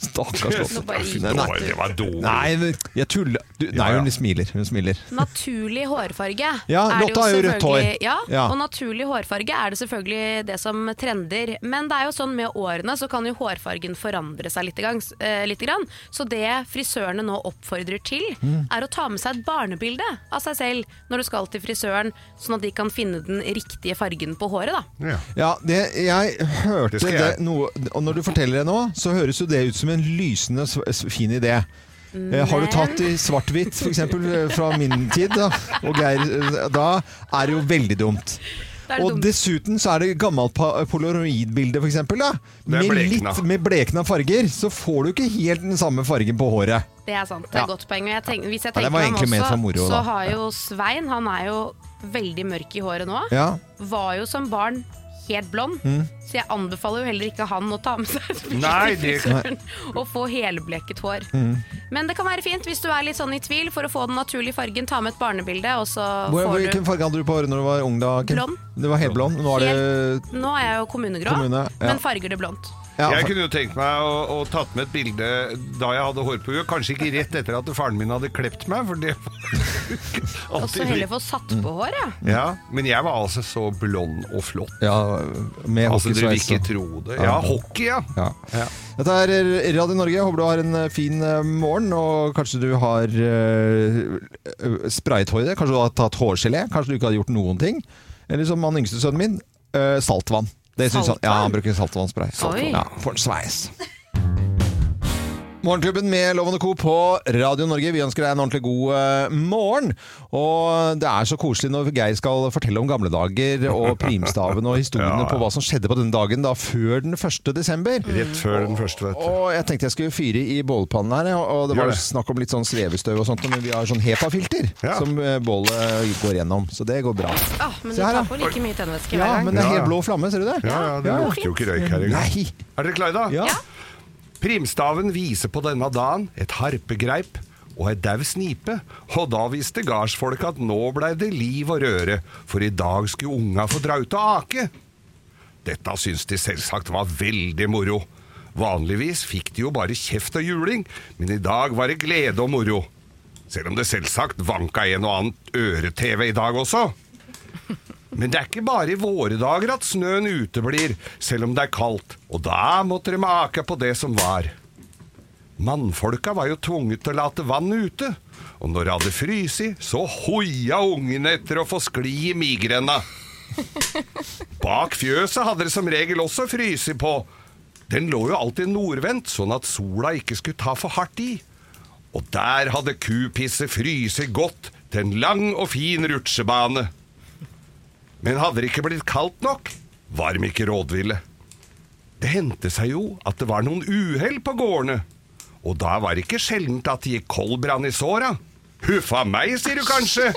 Speaker 4: Stakkars
Speaker 3: Nå
Speaker 4: Lotte.
Speaker 3: bare gikk
Speaker 1: Nei,
Speaker 2: Det
Speaker 1: nei.
Speaker 2: var- Det var dårlig.
Speaker 1: Nei, men-
Speaker 4: Jeg tuller.
Speaker 1: du,
Speaker 2: Ja,
Speaker 1: nei
Speaker 2: ja.
Speaker 1: hun smiler. Hun smiler.
Speaker 3: Naturlig hårfarge
Speaker 1: Ja,
Speaker 3: er det
Speaker 1: Lotta har jo rødt hår.
Speaker 3: selvfølgelig- Ja,
Speaker 1: Ja.
Speaker 3: og naturlig hårfarge er det selvfølgelig det som trender. Men det er jo sånn med årene så kan jo hårfargen forandre seg litt. Gang, eh, lite grann. Så det frisørene nå oppfordrer til,
Speaker 1: Mm.
Speaker 3: er å ta med seg et barnebilde av seg selv når du skal til frisøren, sånn at de kan finne den riktige fargen på håret. da.
Speaker 2: Ja.
Speaker 1: Ja, det, jeg hørte det,
Speaker 2: Det skal jeg.
Speaker 1: noe, og når du forteller det nå, så høres jo det ut som en lysende s- s- fin idé. Eh, Har du
Speaker 3: Mm,
Speaker 1: tatt i svart-hvitt, f.eks. fra min tid, da, og Geir, eh, da er det jo veldig dumt.
Speaker 3: Da er det
Speaker 1: Og
Speaker 3: dumt.
Speaker 1: dessuten så er det gammelt pa- polaroidbilde, f.eks. Med,
Speaker 2: blekna.
Speaker 1: litt- med blekna farger, så får du ikke helt den samme fargen på håret.
Speaker 3: Det er sant. Det er
Speaker 1: Ja.
Speaker 3: et godt poeng. Og jeg tenk, hvis jeg
Speaker 1: Ja, det
Speaker 3: tenker
Speaker 1: var
Speaker 3: meg
Speaker 1: egentlig
Speaker 3: om
Speaker 1: ment
Speaker 3: også,
Speaker 1: for moro,
Speaker 3: så
Speaker 1: da.
Speaker 3: har jo Svein Han er jo veldig mørk i håret nå.
Speaker 1: Ja.
Speaker 3: Var jo som barn helt blond,
Speaker 1: Mm.
Speaker 3: så jeg anbefaler jo heller ikke han å ta med seg et
Speaker 2: Nei, det-
Speaker 3: frisøren og få helbleket hår.
Speaker 1: Mm.
Speaker 3: Men det kan være fint hvis du er litt sånn i tvil, for å få den naturlige fargen, ta med et barnebilde, og så
Speaker 1: Hvor,
Speaker 3: får
Speaker 1: hvilken
Speaker 3: du
Speaker 1: farge hadde du på håret når du var ung? da? Kim?
Speaker 3: Blond.
Speaker 1: Det var helt blond. Nå er det
Speaker 3: Nå er jeg jo kommunegrå,
Speaker 1: Kommune, ja.
Speaker 3: men farger det blondt.
Speaker 1: ja,
Speaker 2: Jeg kunne jo tenkt meg å, å tatt med et bilde da jeg hadde hår på huet. Kanskje ikke rett etter at faren min hadde klept meg, for det var
Speaker 3: Og så heller få satt
Speaker 1: Mm.
Speaker 3: på hår, ja.
Speaker 2: ja, Men jeg var altså så blond og flott.
Speaker 1: ja, med
Speaker 2: Altså, Dere vil
Speaker 1: hockeysveis.
Speaker 2: ikke tro det. Ja, hockey, ja.
Speaker 1: Ja.
Speaker 2: Ja.
Speaker 1: Dette er Radio Norge. Jeg håper du har en eh, fin eh, morgen, og kanskje du har eh, sprayet håret. Kanskje du har tatt hårgelé. Kanskje du ikke har gjort noen ting. Eller som han yngste sønnen min, eh, saltvann. Det syns han. Ja, han bruker saltvannspray.
Speaker 3: Oi.
Speaker 1: Ja, for en sveis. Morgenklubben med Loven og Co. på Radio Norge. Vi ønsker deg en ordentlig god eh, morgen. Og det er så koselig når Geir skal fortelle om gamle dager og primstaven og historiene på hva som skjedde på denne dagen da før den 1. desember.
Speaker 2: Rett før den første, vet du.
Speaker 1: Og jeg tenkte jeg skulle fyre i bålpannen her, og det
Speaker 2: Gjør
Speaker 1: var jo
Speaker 2: det.
Speaker 1: snakk om litt sånn svevestøv og sånt, men vi har sånn HEPA-filter
Speaker 2: Ja.
Speaker 1: som eh, bålet går gjennom, så det går bra.
Speaker 3: Åh, Ah, men du
Speaker 1: Se her,
Speaker 3: tar
Speaker 1: da.
Speaker 3: på like mye tennvæske
Speaker 1: Ja, men
Speaker 3: hver gang.
Speaker 1: det er
Speaker 2: Ja, ja.
Speaker 1: helt blå flamme, ser du det?
Speaker 2: Ja, ja, det
Speaker 1: Ja.
Speaker 2: lukter jo ikke røyk her engang.
Speaker 1: Nei!
Speaker 2: Er dere klare, da?
Speaker 1: Ja. Ja.
Speaker 2: Primstaven viser på denne dagen et harpegreip og ei dau snipe, og da visste gardsfolk at nå blei det liv og røre, for i dag skulle unga få dra ut og ake. Dette syntes de selvsagt var veldig moro. Vanligvis fikk de jo bare kjeft og juling, men i dag var det glede og moro. Selv om det selvsagt vanka en og annen øre-TV i dag også. Men det er ikke bare i våre dager at snøen uteblir, selv om det er kaldt, og da måtte de ake på det som var. Mannfolka var jo tvunget til å late vann ute, og når det hadde frysi, så hoia ungene etter å få skli i migrena. Bak fjøset hadde det som regel også frysi på. Den lå jo alltid nordvendt, sånn at sola ikke skulle ta for hardt i. Og der hadde kupisset frysi godt til en lang og fin rutsjebane. Men hadde det ikke blitt kaldt nok, var de ikke rådville. Det hendte seg jo at det var noen uhell på gårdene, og da var det ikke sjeldent at det gikk koldbrann i såra. Huffa meg, sier du kanskje.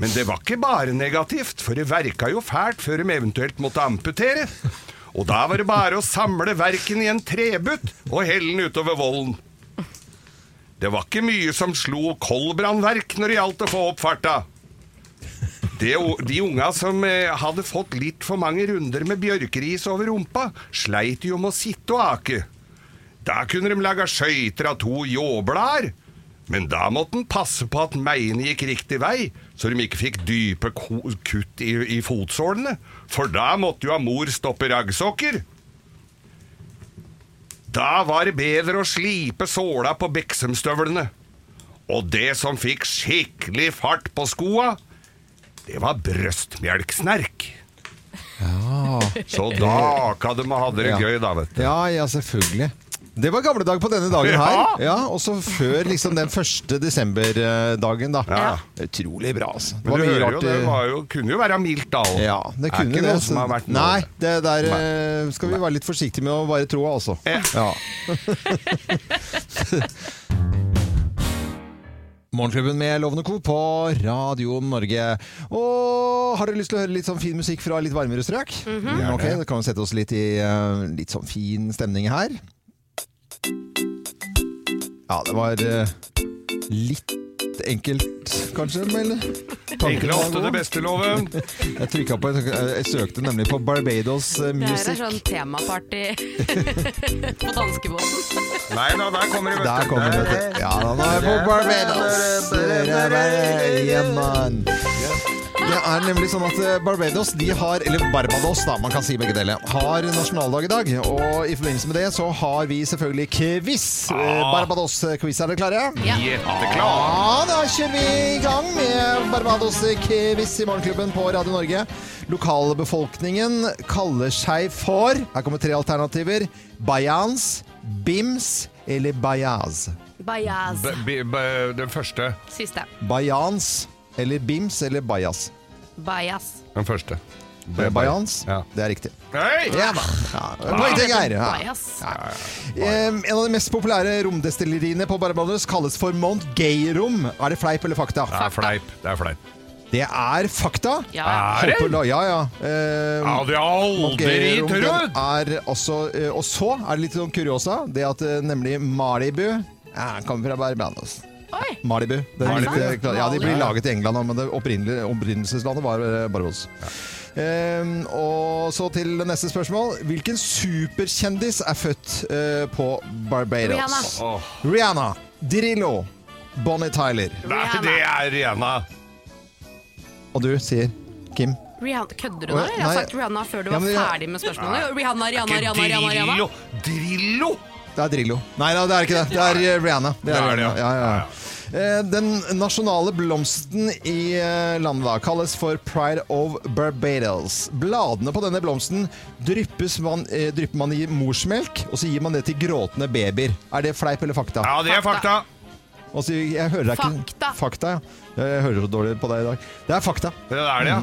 Speaker 2: Men det var ikke bare negativt, for det verka jo fælt før de eventuelt måtte amputere. Og da var det bare å samle verken i en trebutt og helle den utover volden. Det var ikke mye som slo koldbrannverk når det gjaldt å få opp farta. Det, de unga som eh, hadde fått litt for mange runder med bjørkeris over rumpa, sleit jo med å sitte og ake. Da kunne de laga skøyter av to ljåblader. Men da måtte en passe på at meiene gikk riktig vei, så de ikke fikk dype ko- kutt i, i fotsålene. For da måtte jo ha mor stoppe raggsokker. Da var det bedre å slipe såla på beksømstøvlene. Og det som fikk skikkelig fart på skoa, det var brøstmjelksnerk. Så da kan de ha det
Speaker 1: Ja.
Speaker 2: gøy, da, vet du.
Speaker 1: Ja, ja, selvfølgelig. Det var gamle dag på denne dagen her.
Speaker 2: Ja.
Speaker 1: Ja, Også før liksom den 1. desember-dagen, da.
Speaker 2: Ja.
Speaker 1: Utrolig bra, altså. Det
Speaker 2: Men du
Speaker 1: mye
Speaker 2: hører jo,
Speaker 1: rart,
Speaker 2: det
Speaker 1: eh,
Speaker 2: var jo, kunne jo være mildt, da. også.
Speaker 1: Ja, det
Speaker 2: er
Speaker 1: kunne
Speaker 2: ikke
Speaker 1: det.
Speaker 2: noe som
Speaker 1: så-
Speaker 2: har vært noe.
Speaker 1: Nei, det der eh, skal vi være litt forsiktige med å bare tro, altså.
Speaker 2: Ja.
Speaker 1: Ja. Morgenklubben med Lovende Co. på Radio Norge. Og har dere lyst til å høre litt sånn fin musikk fra litt varmere strøk? Ja, ok, Da kan vi sette oss litt i eh, litt sånn fin stemning her. Ja, det var eh, litt enkelt, kanskje? Eller?
Speaker 2: Tenker deg ofte det
Speaker 1: Tanken
Speaker 2: beste, Loven.
Speaker 1: Jeg trykket på, jeg søkte nemlig på Barbados eh,
Speaker 3: Det her er
Speaker 1: Music.
Speaker 3: sånn temaparty på danskebåten.
Speaker 2: Nei da, der kommer det,
Speaker 1: Der kommer det. vet du. Ja, da, nå er jeg på Barbados. Der er jeg hjemme. Det er nemlig sånn at eh, Barbados, de har, eller Barbados da, man kan si begge deler, har nasjonaldag i dag. Og i forbindelse med det så har vi selvfølgelig quiz. Eh, Barbados-quiz, er dere klare?
Speaker 3: Ja.
Speaker 2: Jetteklar.
Speaker 1: Ja, da kjører vi i gang med Barbados-quiz i Morgenklubben på Radio Norge. Lokalbefolkningen kaller seg for Her kommer tre alternativer. Bayans, Bims eller Bayaz.
Speaker 3: Bajaz.
Speaker 2: B- b- b- Den første.
Speaker 3: Siste.
Speaker 1: Bayans eller Bims eller Bajas.
Speaker 3: Bajas.
Speaker 2: Den første.
Speaker 1: Eh, Bayans,
Speaker 2: Ja.
Speaker 1: det er riktig.
Speaker 2: Hei!
Speaker 1: Ja da. Ja, poeng til Geir. Ja.
Speaker 3: Bajas.
Speaker 1: Eh, en av de mest populære romdestilleriene på Barbados kalles for Mount Gay-rom. Er det fleip eller fakta?
Speaker 2: Det er fleip. Det er fleip.
Speaker 1: Det er fakta.
Speaker 3: Ja.
Speaker 2: Er det?
Speaker 1: Håper da- Ja, ja. Eh,
Speaker 2: Ja, det har jeg aldri
Speaker 1: Gay-rom,
Speaker 2: trodd!
Speaker 1: den er også, eh, og så er det litt sånn kuriosa, det at eh, nemlig Malibu ja, kommer fra Barbados.
Speaker 2: Ah.
Speaker 3: Oi.
Speaker 1: Malibu. Det er
Speaker 2: Malibu,
Speaker 1: litt,
Speaker 2: ja.
Speaker 1: eh, klart- ja, de blir laget i England, nå, men det opprinnelige- opprinnelseslandet var eh, Barbados. Ehm, og så til neste spørsmål. Hvilken superkjendis er født eh, på Barbados?
Speaker 3: Rihanna.
Speaker 2: Åh,
Speaker 1: Rihanna, Drillo, Bonnie Tyler.
Speaker 2: Nei, det er rena.
Speaker 1: Og du sier Kim?
Speaker 3: Rihanna. Kødder du nå?
Speaker 1: Oi,
Speaker 3: Jeg har
Speaker 1: nei.
Speaker 3: sagt Rihanna før du
Speaker 1: Ja,
Speaker 3: var
Speaker 1: men jeg-
Speaker 3: ferdig med spørsmålet. Rihanna, Rihanna,
Speaker 2: Ikke
Speaker 3: Rihanna, Rihanna, Rihanna.
Speaker 2: Drillo. Drillo!
Speaker 1: Det er Drillo. Nei da, det er ikke det. Det er eh, Rihanna. Det
Speaker 2: Det er det,
Speaker 1: Rihanna.
Speaker 2: ja.
Speaker 1: Ja, ja, ja. Eh, Den nasjonale blomsten i eh, landet da kalles for Pride of Barbados. Bladene på denne blomsten dryppes man, eh, drypper man i morsmelk, og så gir man det til gråtende babyer. Er det fleip eller fakta?
Speaker 2: Ja, det er fakta.
Speaker 1: Og så, jeg hører deg ikke.
Speaker 3: Fakta.
Speaker 1: Fakta. ja. Jeg hører så dårlig på deg i dag. Det er fakta.
Speaker 2: Det er det, ja.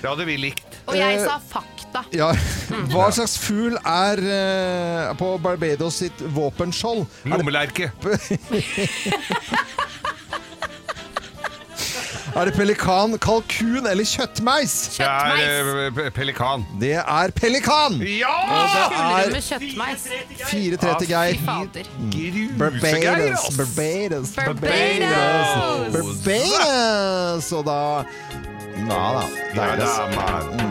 Speaker 2: Det hadde vi likt.
Speaker 3: Og jeg sa fakta.
Speaker 1: Ja. Hva slags fugl er eh, på Barbados sitt våpenskjold? Er det
Speaker 2: Lommelerke.
Speaker 1: Er det pelikan, kalkun eller kjøttmeis?
Speaker 2: Det er
Speaker 3: Kjøttmeis.
Speaker 2: eh, pe- pelikan.
Speaker 1: Det er pelikan!
Speaker 2: Ja!
Speaker 3: Fugler med kjøttmeis.
Speaker 1: 4-3 til
Speaker 2: Ja,
Speaker 1: Geir.
Speaker 2: fy
Speaker 3: Fader.
Speaker 2: Grusegeir,
Speaker 1: Barbados,
Speaker 2: ass!
Speaker 1: Barbados,
Speaker 3: Barbados!
Speaker 1: Barbados! Og da Ja da.
Speaker 2: Ja,
Speaker 1: Deilig.
Speaker 2: da, man.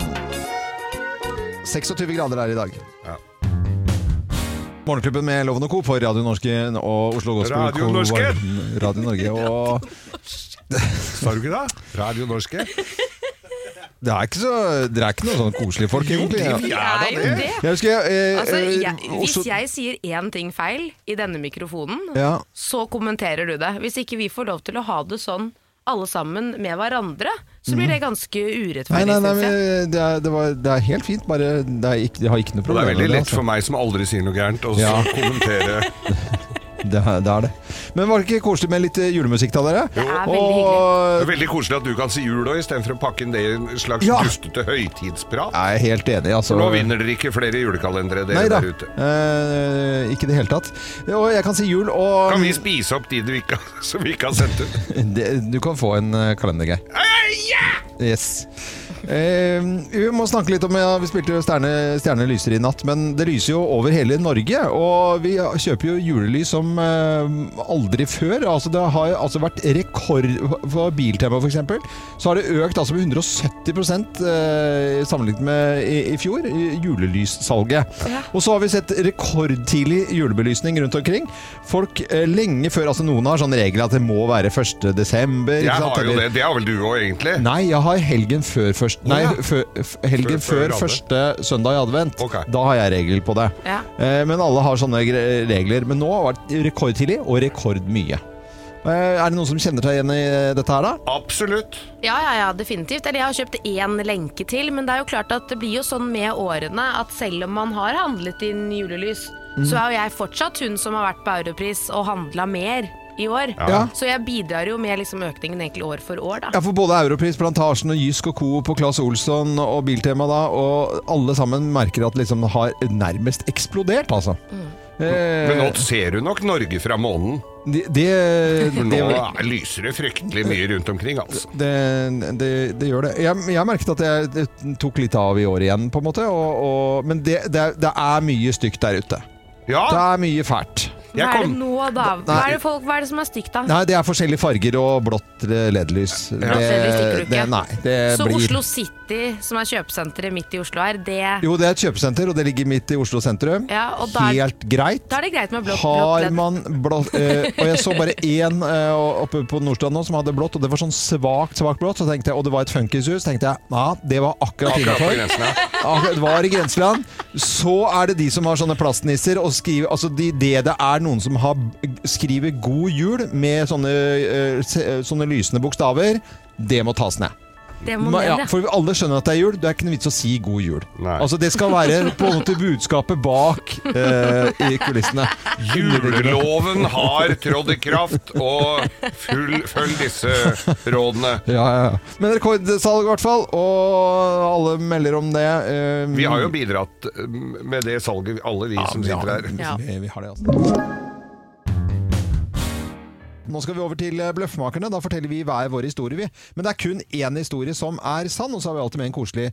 Speaker 1: 26 grader er det i dag.
Speaker 2: Ja.
Speaker 1: Morgenklubben med Loven og Co. på Radio Norsken og Oslo Gospel
Speaker 2: Radio
Speaker 1: Kor-
Speaker 2: Norsken!
Speaker 1: Radio Norge. Og
Speaker 2: Sa du ikke det? Radio Norske?
Speaker 1: det er ikke, så, det er ikke noe sånn koselige folk, egentlig. Jeg
Speaker 2: de er-
Speaker 3: Det er jo det.
Speaker 1: husker eh,
Speaker 3: Altså,
Speaker 1: eh,
Speaker 3: jeg, hvis
Speaker 1: Oslo-
Speaker 3: jeg sier én ting feil i denne mikrofonen,
Speaker 1: Ja.
Speaker 3: så kommenterer du det. Hvis ikke vi får lov til å ha det sånn alle sammen med hverandre, så blir det ganske
Speaker 1: Mm. Nei, nei,
Speaker 3: urettferdig,
Speaker 1: nei
Speaker 3: syns jeg.
Speaker 1: men eh, det, er, det, var, det er helt fint, bare det er ikke, jeg har ikke noe
Speaker 2: Og det
Speaker 1: problem
Speaker 2: er veldig
Speaker 1: med
Speaker 2: lett
Speaker 1: altså.
Speaker 2: for meg som aldri sier noe gærent, å
Speaker 1: Ja.
Speaker 2: kommentere.
Speaker 1: Det, er- det er det. Men var det ikke koselig med litt eh, julemusikk da, dere?
Speaker 3: Det er veldig hyggelig.
Speaker 2: Det
Speaker 1: Og
Speaker 2: er veldig koselig at du kan si jul òg, istedenfor å pakke inn det i en slags
Speaker 1: Ja.
Speaker 2: dustete høytidsprat.
Speaker 1: jeg er helt enig, altså.
Speaker 2: Nå vinner dere ikke flere julekalendere, dere
Speaker 1: Nei da.
Speaker 2: der ute.
Speaker 1: Eh, ikke i det hele tatt. Og jeg kan si jul, og
Speaker 2: Kan vi spise opp de du ikke, har- som vi ikke har sendt ut?
Speaker 1: Det- Du kan få en eh, kalender, Geir. Yes. Eh, vi må snakke litt om ja, Vi spilte jo Stjerne, Stjerne lyser i natt, men det lyser jo over hele Norge. Og vi kjøper jo julelys som eh, aldri før. Altså, det har jo altså vært rekord for Biltema, f.eks. Så har det økt altså med 170 eh, sammenlignet med i, i fjor, i julelyssalget. Og så har vi sett rekordtidlig julebelysning rundt omkring. Folk eh, lenge før altså Noen har sånn regel at det må være 1. desember.
Speaker 2: Jeg
Speaker 1: ikke sant?
Speaker 2: har jo
Speaker 1: Eller-
Speaker 2: det. Det har vel du òg, egentlig?
Speaker 1: Nei, jeg har helgen før først Nei,
Speaker 2: ja.
Speaker 1: fø- f- helgen
Speaker 2: Før- før
Speaker 1: før,
Speaker 2: advent.
Speaker 1: første søndag i advent.
Speaker 2: Ok.
Speaker 1: Da har jeg regel på det.
Speaker 3: Ja.
Speaker 1: Eh, Men alle har sånne gre- regler. Men nå har det vært rekordtidlig og rekordmye. Eh, Er det noen som kjenner seg igjen i eh, dette her, da?
Speaker 2: Absolutt.
Speaker 1: Eh.
Speaker 3: Ja, ja, ja, definitivt. Eller jeg har kjøpt én lenke til, men det er jo klart at det blir jo sånn med årene at selv om man har handlet inn julelys,
Speaker 1: Mm.
Speaker 3: så er jo jeg fortsatt hun som har vært på Europris og handla mer i år.
Speaker 1: Ja.
Speaker 3: Så jeg bidrar jo med liksom økningen egentlig år for år, da.
Speaker 1: Ja, for både Europris, Plantasjen og Jysk og Co. på Claes Olsson og Biltema da, og alle sammen merker at liksom har nærmest eksplodert, altså. Eh,
Speaker 2: Men nå ser du nok Norge fra månen.
Speaker 1: det, det,
Speaker 2: For
Speaker 1: det,
Speaker 2: nå er- lyser det fryktelig mye rundt omkring, altså.
Speaker 1: det, det, det gjør det. Jeg, jeg merket at jeg det tok litt av i år igjen, på en måte. Og, og, men det, det, er- det er mye stygt der ute. Det
Speaker 2: Ja,
Speaker 1: er mye fælt.
Speaker 2: Jeg
Speaker 3: Hva er det
Speaker 2: kom-
Speaker 3: nå, da? Hva er det, folk, hva er det som er stygt, da?
Speaker 1: Nei, det er forskjellige farger og blått eh, LED-lys.
Speaker 3: LED-lys liker du
Speaker 1: det,
Speaker 3: ikke.
Speaker 1: nei, det
Speaker 3: Så
Speaker 1: blir
Speaker 3: Oslo City, som er kjøpesenteret midt i Oslo her, det
Speaker 1: Jo, det er et kjøpesenter, og det ligger midt i Oslo sentrum.
Speaker 3: Ja, og da er-
Speaker 1: Helt greit.
Speaker 3: Da er det greit med blått. blått
Speaker 1: Har
Speaker 3: ledd.
Speaker 1: man blått eh, Og jeg så bare én eh, oppe på Nordstrand nå som hadde blått, og det var sånn svakt svakt blått. Så tenkte jeg, Og det var et funkishus. tenkte jeg ja, det var akkurat
Speaker 2: Akkurat på
Speaker 1: innafor.
Speaker 2: grensen, ja.
Speaker 1: Akkurat var i grenseland. Så er det de som har sånne plastnisser og skriver Altså de, det det er noen som har, skriver 'God jul' med sånne, eh, se- sånne lysende bokstaver. Det må tas ned.
Speaker 3: Det må
Speaker 1: Ma-
Speaker 3: ned,
Speaker 1: ja,
Speaker 3: ja.
Speaker 1: for alle skjønner at det er jul. Det er ikke noe vits å si 'god jul'.
Speaker 2: Nei.
Speaker 1: Altså Det skal være på en måte budskapet bak eh, i kulissene.
Speaker 2: Juleloven har trådt i kraft, og full, følg disse rådene.
Speaker 1: Ja, ja, ja. Men rekordsalg i hvert fall, og alle melder om det. eh,
Speaker 2: Vi har jo bidratt mm, med det salget, alle vi
Speaker 1: ja,
Speaker 2: som sitter her.
Speaker 1: Ja,
Speaker 3: Ja.
Speaker 1: vi, vi har det, altså. Nå skal vi over til eh, Bløffmakerne. Da forteller vi hver vår historie. vi. Men det er kun én historie som er sann. Og så har vi alltid med en koselig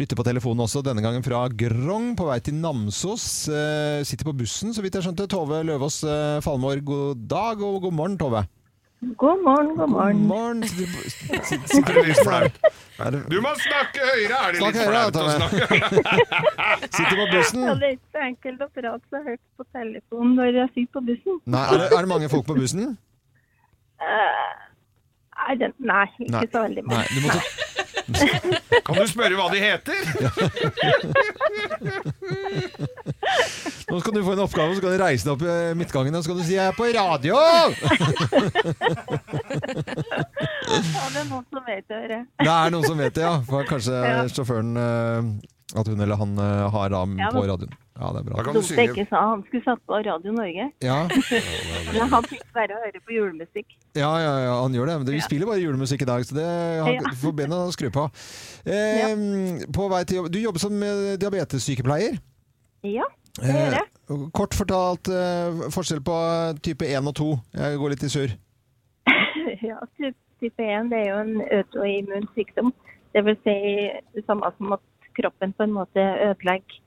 Speaker 1: lytter på telefonen også. Denne gangen fra Grong på vei til Namsos. Eh, sitter på bussen, så vidt jeg skjønte. Tove Løvaas eh, Falmår, god dag og god morgen, Tove.
Speaker 4: God morgen, god morgen.
Speaker 1: morgen. Sitter på- sitter-
Speaker 2: Er det litt flaut?
Speaker 1: Er det-
Speaker 2: Du må snakke høyere! Er det
Speaker 1: Snakk
Speaker 2: litt
Speaker 1: høyere,
Speaker 2: flaut å
Speaker 1: Tove.
Speaker 2: snakke?
Speaker 1: Sitter på bussen.
Speaker 4: Ja, det er ikke så enkelt å prate så høyt på telefonen når jeg sitter på bussen.
Speaker 1: Nei, er, det, er det mange folk på bussen?
Speaker 4: Nei, det, nei ikke
Speaker 1: Nei.
Speaker 4: så veldig
Speaker 1: Nei,
Speaker 4: mye.
Speaker 1: du måtte
Speaker 2: Kan du spørre hva de heter?
Speaker 1: Nå skal du få en oppgave, så skal du reise deg opp i midtgangen og så skal du si 'jeg er på radio'!
Speaker 4: Ja, det er noen som vet å gjøre.
Speaker 1: Det er noen som vet det, ja. For kanskje
Speaker 4: Ja.
Speaker 1: sjåføren eh, At hun eller han eh, har da
Speaker 4: Ja,
Speaker 1: på
Speaker 4: men-
Speaker 1: radioen. Ja, det er
Speaker 2: Da
Speaker 1: bra.
Speaker 2: kan du
Speaker 4: Dumt jeg
Speaker 2: synge
Speaker 4: ikke sa han skulle satt på Radio Norge.
Speaker 1: Ja,
Speaker 4: Men han fikk bare høre på julemusikk.
Speaker 1: ja, ja, ja han gjør det. Men det, vi spiller bare julemusikk i dag, så det han,
Speaker 4: Ja.
Speaker 1: får bena skru på. Eh, På vei til jobb Du jobber som eh, diabetessykepleier.
Speaker 4: Ja, det gjør jeg.
Speaker 1: Eh, kort fortalt eh, forskjell på type 1 og 2. Jeg går litt i surr.
Speaker 4: Ja, typ- type 1 det er jo en autoimmun sykdom. Det vil si det samme som at kroppen på en måte ødelegger,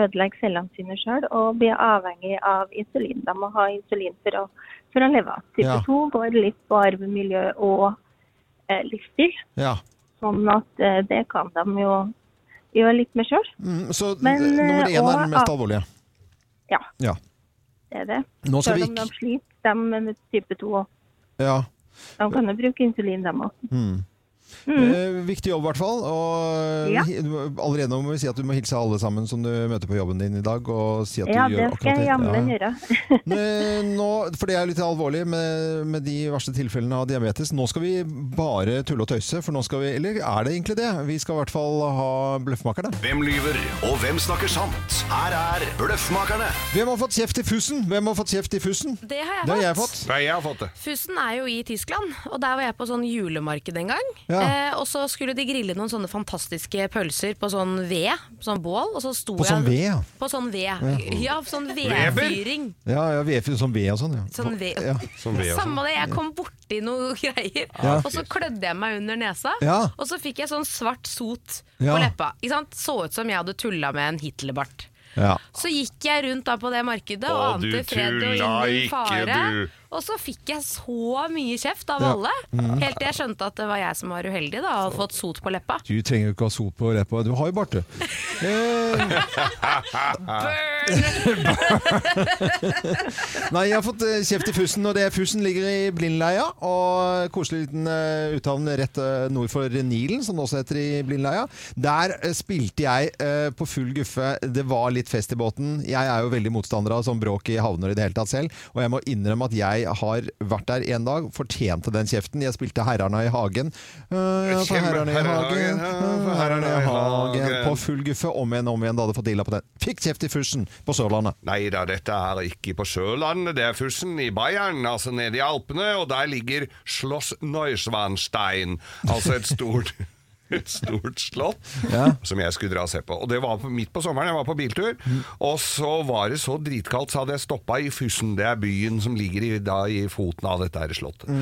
Speaker 4: ødelegger cellene sine sjøl og blir avhengig av insulin. De må ha insulin for å, for å leve. Type
Speaker 1: Ja.
Speaker 4: 2 går litt på arvemiljø og eh, livsstil,
Speaker 1: Ja.
Speaker 4: sånn at eh, det kan de jo gjøre litt med sjøl.
Speaker 1: Mm, så
Speaker 4: Men,
Speaker 1: eh, nummer
Speaker 4: eh,
Speaker 1: én er
Speaker 4: og
Speaker 1: den mest
Speaker 4: at-
Speaker 1: alvorlige.
Speaker 4: Ja.
Speaker 1: Ja.
Speaker 4: Det er det.
Speaker 1: Nå skal
Speaker 4: Sjøl
Speaker 1: vi
Speaker 4: om de
Speaker 1: ikke
Speaker 4: sliter, de med type 2 òg.
Speaker 1: ja.
Speaker 4: De kan jo bruke insulin, de òg.
Speaker 1: Eh, viktig jobb i hvert fall. Og
Speaker 4: Mm.
Speaker 1: eh,
Speaker 4: Ja.
Speaker 1: hi- du må- allerede nå må vi si at du må hilse alle sammen som du møter på jobben din i dag. Og si at
Speaker 4: Ja,
Speaker 1: du
Speaker 4: det
Speaker 1: gjør akkurat
Speaker 4: skal jeg jammen
Speaker 1: Ja.
Speaker 4: gjøre.
Speaker 1: Men eh, Nå, for det er litt alvorlig med, med de verste tilfellene av diabetes. Nå skal vi bare tulle og tøyse, for nå skal vi Eller er det egentlig det? Vi skal i hvert fall ha Bløffmakerne.
Speaker 5: Hvem lyver, og hvem snakker sant? Her er Bløffmakerne.
Speaker 1: Hvem har fått kjeft i fussen? Hvem har fått kjeft i fussen?
Speaker 3: Det har jeg
Speaker 1: Det har jeg
Speaker 3: fått.
Speaker 1: fått.
Speaker 2: Nei, jeg har fått det.
Speaker 3: Fussen er jo i Tyskland, og der var jeg på sånn julemarked en gang.
Speaker 1: Ja.
Speaker 3: Eh, og så skulle de grille noen sånne fantastiske pølser på sånn ved, på sånn bål. Og så sto
Speaker 1: På sånn ved,
Speaker 3: jeg
Speaker 1: ja.
Speaker 3: På sånn ved, ja. på sånn
Speaker 2: Weber?
Speaker 3: vedfyring.
Speaker 1: Ja, ja ved, som ved og sånn. Ja.
Speaker 3: Sånn ved.
Speaker 1: Ja.
Speaker 2: Som ved og sånn.
Speaker 3: Samme det, jeg kom borti noe greier,
Speaker 1: Ja.
Speaker 3: og så klødde jeg meg under nesa.
Speaker 1: Ja.
Speaker 3: Og så fikk jeg sånn svart sot
Speaker 1: Ja.
Speaker 3: på leppa. Ikke sant? Så ut som jeg hadde tulla med en Hitlerbart.
Speaker 1: Ja.
Speaker 3: Så gikk jeg rundt da på det markedet
Speaker 2: Å,
Speaker 3: og
Speaker 2: du
Speaker 3: ante fred og
Speaker 2: tulla
Speaker 3: ingen
Speaker 2: ikke,
Speaker 3: fare.
Speaker 2: du.
Speaker 3: Og så fikk jeg så mye kjeft av
Speaker 1: Ja. Mm.
Speaker 3: alle, helt til jeg skjønte at det var jeg som var uheldig da, og fått sot på leppa.
Speaker 1: Du trenger jo ikke ha sot på leppa. Du har jo bart, du. Eh,
Speaker 3: Burn!
Speaker 1: Nei, jeg har fått eh, kjeft i fussen, og det fussen ligger i Blindleia. Og koselig liten eh, uthavn rett eh, nord for Nilen, som det også heter i Blindleia. Der eh, spilte jeg eh, på full guffe. Det var litt fest i båten. Jeg er jo veldig motstander av sånn bråk i havner i det hele tatt selv, og jeg må innrømme at jeg har vært der en dag, fortjente den kjeften. Jeg spilte Herrarna i hagen. Eh, ja, for
Speaker 2: Kjempe-
Speaker 1: herrarna i hagen,
Speaker 2: Herrarna i
Speaker 1: ja, for herrarna i hagen.
Speaker 2: hagen.
Speaker 1: På full guffe om igjen, om igjen, da hadde fått illa på den. Fikk kjeft i fussen på Sørlandet.
Speaker 2: Nei da, dette er ikke på Sørlandet, det er Fussen i Bayern, altså nede i Alpene, og der ligger Schloss Neuschwanstein, altså et stort et stort slott som jeg skulle dra og se på. Og det var på- midt på sommeren, jeg var på biltur. Og så var det så
Speaker 1: Mm.
Speaker 2: dritkaldt, så hadde jeg stoppa i Fussen. Det er byen som ligger i, da, i foten av dette her slottet.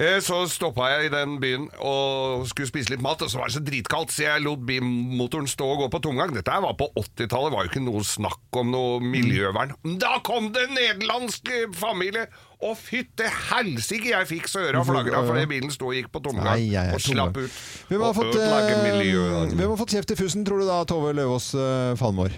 Speaker 2: Eh, Så stoppa jeg i den byen og skulle spise litt mat, og så var det så dritkaldt, så jeg lot bilmotoren stå og gå på tomgang. Dette her var på 80-tallet, var jo ikke noe snakk om noe
Speaker 1: Mm.
Speaker 2: miljøvern. Men Da kom det en nederlandsk eh, familie! Å, fytte helsike jeg fikk så øra flagra fordi bilen sto og gikk på tomgang
Speaker 1: Nei, jeg er
Speaker 2: og slapp
Speaker 1: tomgang.
Speaker 2: ut.
Speaker 1: Hvem har,
Speaker 2: Og
Speaker 1: fått,
Speaker 2: ødelagte
Speaker 1: eh,
Speaker 2: miljøet.
Speaker 1: hvem har fått kjeft i fussen, tror du da, Tove Løvaas eh, Falmår?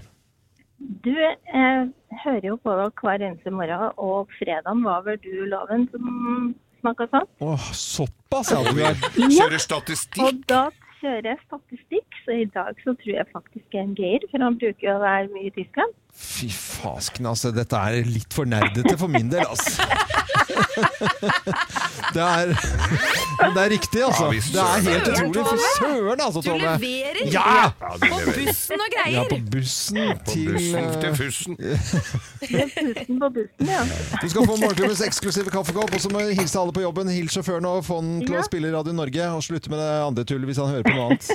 Speaker 4: Du eh, hører jo på deg hver eneste morgen, og fredagen var vel du, Loven, som sånn. snakka sant?
Speaker 1: Åh, såpass! Ja, du er
Speaker 2: Kjører statistikk?
Speaker 4: Og da kjører jeg statistikk, så i dag så tror jeg faktisk det er en Geir, for han bruker jo å være mye i Tyskland.
Speaker 1: Fy fasken, altså. Dette er litt for nerdete for min del, altså. Det er, men det er riktig, altså.
Speaker 2: Ja, vi
Speaker 1: Det er helt
Speaker 3: søren.
Speaker 1: utrolig. Fy søren, altså,
Speaker 3: Du
Speaker 1: Tove.
Speaker 3: leverer
Speaker 1: Ja!
Speaker 2: Sånn, Ja, det
Speaker 3: på
Speaker 2: leverer.
Speaker 3: bussen og
Speaker 1: Ja, på
Speaker 3: greier!
Speaker 1: bussen
Speaker 2: På
Speaker 1: til
Speaker 2: bussen
Speaker 1: eh,
Speaker 2: til fussen.
Speaker 4: Bussen på bussen, ja.
Speaker 1: Du skal få Morgenklubbens eksklusive kaffekopp, og så må jeg hilse alle på jobben. Hils sjåføren og få han til
Speaker 4: Ja.
Speaker 1: å spille Radio Norge, og slutte med det andre tullet hvis han hører på noe annet.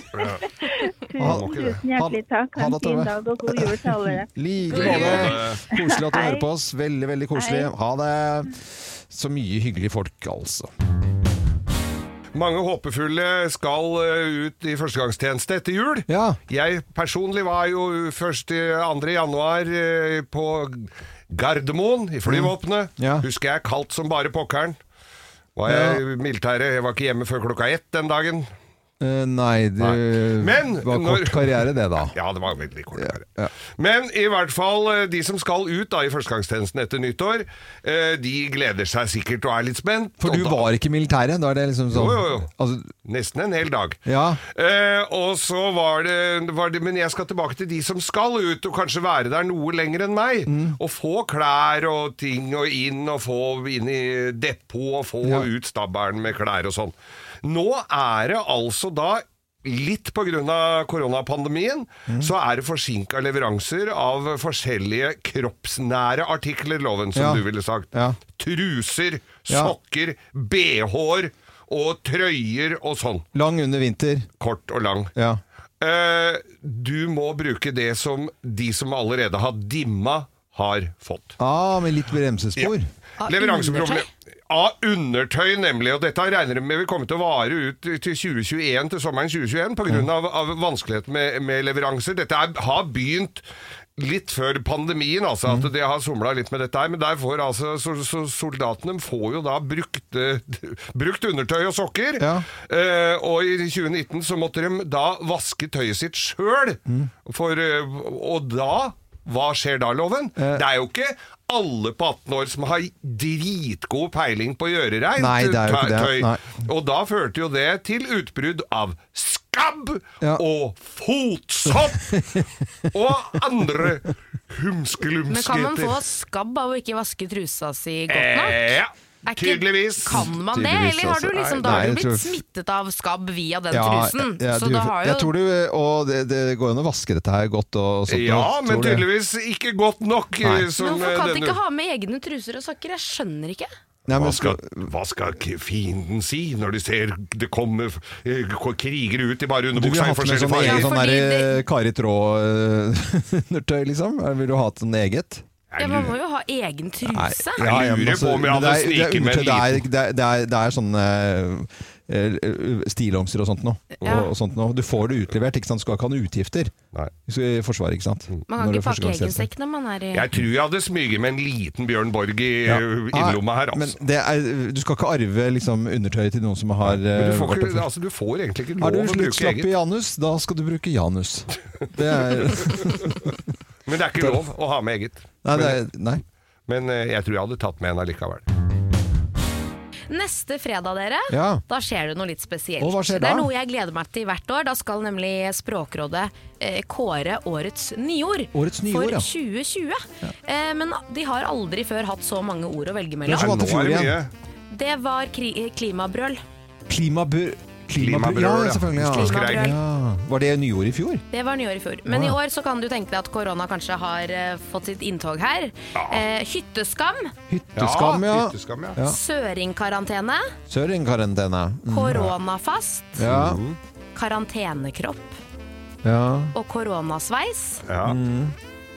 Speaker 4: Tusen, tusen hjertelig takk. Ha
Speaker 1: Ha
Speaker 4: en
Speaker 1: det, Tove.
Speaker 4: fin dag og god jul til alle.
Speaker 1: Like
Speaker 2: God
Speaker 1: måte.
Speaker 2: jul.
Speaker 1: Koselig at du
Speaker 4: Hei.
Speaker 1: hører på oss. Veldig, veldig koselig.
Speaker 4: Hei.
Speaker 1: Ha det. Så mye hyggelige folk, altså.
Speaker 2: Mange håpefulle skal eh, ut i førstegangstjeneste etter jul.
Speaker 1: Ja.
Speaker 2: Jeg personlig var jo først eh, 2. januar eh, på Gardermoen i
Speaker 1: Mm.
Speaker 2: flyvåpenet.
Speaker 1: Ja.
Speaker 2: Husker jeg kaldt som bare pokkeren. Var jeg i militæret, jeg var ikke hjemme før klokka ett den dagen.
Speaker 1: Eh, nei, det
Speaker 2: Nei. Men
Speaker 1: var
Speaker 2: når-
Speaker 1: kort karriere, det, da.
Speaker 2: Ja, det var veldig kort.
Speaker 1: ja.
Speaker 2: Men i hvert fall, eh, de som skal ut da i førstegangstjenesten etter nyttår, eh, de gleder seg sikkert og er litt spent.
Speaker 1: For du
Speaker 2: Og da-
Speaker 1: var ikke i militæret? Da er det liksom sånn
Speaker 2: Jo, jo, jo.
Speaker 1: Altså,
Speaker 2: Nesten en hel dag.
Speaker 1: Ja.
Speaker 2: Eh, og så var det, var det Men jeg skal tilbake til de som skal ut, og kanskje være der noe lenger enn meg.
Speaker 1: Mm.
Speaker 2: Og få klær og ting og inn, og få inn i depot og få
Speaker 1: Ja.
Speaker 2: ut stabbelen med klær og sånn. Nå er det altså da Litt pga. koronapandemien
Speaker 1: Mm.
Speaker 2: så er det forsinka leveranser av forskjellige kroppsnære artikler, Loven, som
Speaker 1: Ja.
Speaker 2: du ville sagt.
Speaker 1: Ja.
Speaker 2: Truser,
Speaker 1: Ja.
Speaker 2: sokker, BH-er og trøyer og sånn.
Speaker 1: lang under vinter.
Speaker 2: Kort og lang.
Speaker 1: Ja.
Speaker 2: Eh, du må bruke det som de som allerede har dimma, har fått.
Speaker 1: Ah, med litt bremsespor.
Speaker 3: Av
Speaker 2: Leveranseproblem av undertøy, nemlig. Og dette regner vi med vil komme til å vare ut til 2021, til sommeren 2021, pga. Av, av vanskelighet med, med leveranser. Dette er, har begynt litt før pandemien, altså, at det har somla litt med dette her. Men der får altså så, så soldatene får jo da brukt, eh, brukt undertøy og sokker.
Speaker 1: Ja.
Speaker 2: Eh, og i 2019 så måtte de da vaske tøyet sitt sjøl. For, eh, Og da Hva skjer da, Loven?
Speaker 1: Eh.
Speaker 2: Det er jo ikke alle på 18 år som har dritgod peiling på å gjøre reint
Speaker 1: Nei, det er jo ikke det.
Speaker 2: tøy.
Speaker 1: Nei.
Speaker 2: Og da førte jo det til utbrudd av skabb
Speaker 1: Ja.
Speaker 2: og fotsopp og andre
Speaker 3: Men kan man få
Speaker 2: humskelumskheter.
Speaker 3: skabb av å ikke vaske trusa si godt nok?
Speaker 2: Eh, ja,
Speaker 3: Er ikke-
Speaker 2: tydeligvis.
Speaker 3: Kan man det,
Speaker 1: Tydeligvis,
Speaker 3: eller har du
Speaker 1: altså.
Speaker 3: liksom,
Speaker 1: Nei,
Speaker 3: da har
Speaker 1: nei,
Speaker 3: du
Speaker 1: jeg
Speaker 3: blitt
Speaker 1: tror-
Speaker 3: smittet av skabb via den
Speaker 1: Ja,
Speaker 3: trusen?
Speaker 1: ja,
Speaker 3: så
Speaker 1: du-
Speaker 3: da har
Speaker 1: jeg
Speaker 3: jo
Speaker 1: tror du, og det, det går an å vaske dette her godt og sånt.
Speaker 2: Ja,
Speaker 1: og-
Speaker 2: men
Speaker 1: tror det.
Speaker 2: tydeligvis ikke godt nok. eh,
Speaker 1: Nei.
Speaker 2: Som
Speaker 3: Men Hvorfor kan
Speaker 2: eh,
Speaker 3: de
Speaker 2: denne-
Speaker 3: ikke ha med egne truser og sokker? Jeg skjønner ikke.
Speaker 1: Nei, men
Speaker 2: Hva
Speaker 1: jeg
Speaker 2: skal,
Speaker 1: tror-
Speaker 2: hva skal k- fienden si når de ser det kommer eh, k- krigere ut i bare
Speaker 1: Du vil ha
Speaker 2: underbuksa i
Speaker 1: hatt med
Speaker 2: forskjellige
Speaker 1: sånn
Speaker 2: farger?
Speaker 1: egen
Speaker 3: Ja,
Speaker 1: sånn
Speaker 3: fordi
Speaker 1: der,
Speaker 3: det-
Speaker 1: Kari Traa-undertøy, liksom? Eller Vil du ha et sånt eget?
Speaker 3: Ja, man må jo ha egen truse.
Speaker 2: Jeg lurer på om
Speaker 1: men det
Speaker 2: jeg hadde
Speaker 1: er- det er
Speaker 2: sniket med en
Speaker 1: undertøy, det er- Det er, det er, det er sånne eh, eh, stillongser og sånt noe.
Speaker 3: Ja.
Speaker 1: Og, og sånt noe. Du får det utlevert, ikke sant? skal ikke ha noen utgifter.
Speaker 2: Nei.
Speaker 1: Du skal i Forsvaret, ikke sant?
Speaker 3: Man kan ikke pakke egen sekk når man er i
Speaker 2: Jeg tror jeg hadde smyget med en liten Bjørn Borg i eh, innerlomma her,
Speaker 1: Ah,
Speaker 2: altså.
Speaker 1: Men det er, du skal ikke arve liksom, undertøyet til noen som har eh,
Speaker 2: Men du, får
Speaker 1: vært
Speaker 2: ikke,
Speaker 1: på-
Speaker 2: altså, du får egentlig ikke
Speaker 1: Har
Speaker 2: lov
Speaker 1: du
Speaker 2: å bruke
Speaker 1: sluttslapp
Speaker 2: eget.
Speaker 1: i Janus, da skal du bruke Janus. Det er,
Speaker 2: Men det er ikke lov å ha med eget.
Speaker 1: nei, det er, nei.
Speaker 2: Men eh, jeg tror jeg hadde tatt med en allikevel.
Speaker 3: Neste fredag, dere,
Speaker 1: Ja.
Speaker 3: da skjer det noe litt spesielt.
Speaker 1: Å, hva skjer
Speaker 3: Det
Speaker 1: da?
Speaker 3: er noe jeg gleder meg til hvert år. Da skal nemlig Språkrådet eh, kåre årets nyord.
Speaker 1: Årets nyord,
Speaker 3: for
Speaker 1: ja.
Speaker 3: 2020. Eh, men de har aldri før hatt så mange ord å velge
Speaker 1: Det er
Speaker 3: mellom.
Speaker 1: som at
Speaker 2: Nei,
Speaker 1: i
Speaker 2: nå er
Speaker 1: fjor
Speaker 2: det
Speaker 1: igjen.
Speaker 2: mye.
Speaker 3: Det var kri eh, klimabrøl.
Speaker 1: Klimabrøl.
Speaker 2: Klimabrøl,
Speaker 1: ja,
Speaker 2: ja.
Speaker 1: selvfølgelig. Ja.
Speaker 3: Klimabrøl.
Speaker 1: Ja. Var det nyord i fjor?
Speaker 3: Det var nyår i fjor. Men i år så kan du tenke deg at korona kanskje har eh, fått sitt inntog her. Eh, hytteskam,
Speaker 1: Hytteskam, ja.
Speaker 2: Hytteskam, ja.
Speaker 1: Ja.
Speaker 3: søringkarantene,
Speaker 1: Sørenkarantene. Mm.
Speaker 3: koronafast,
Speaker 1: Ja.
Speaker 2: Mhm.
Speaker 3: karantenekropp
Speaker 1: ja. Mm.
Speaker 3: og koronasveis.
Speaker 2: Ja.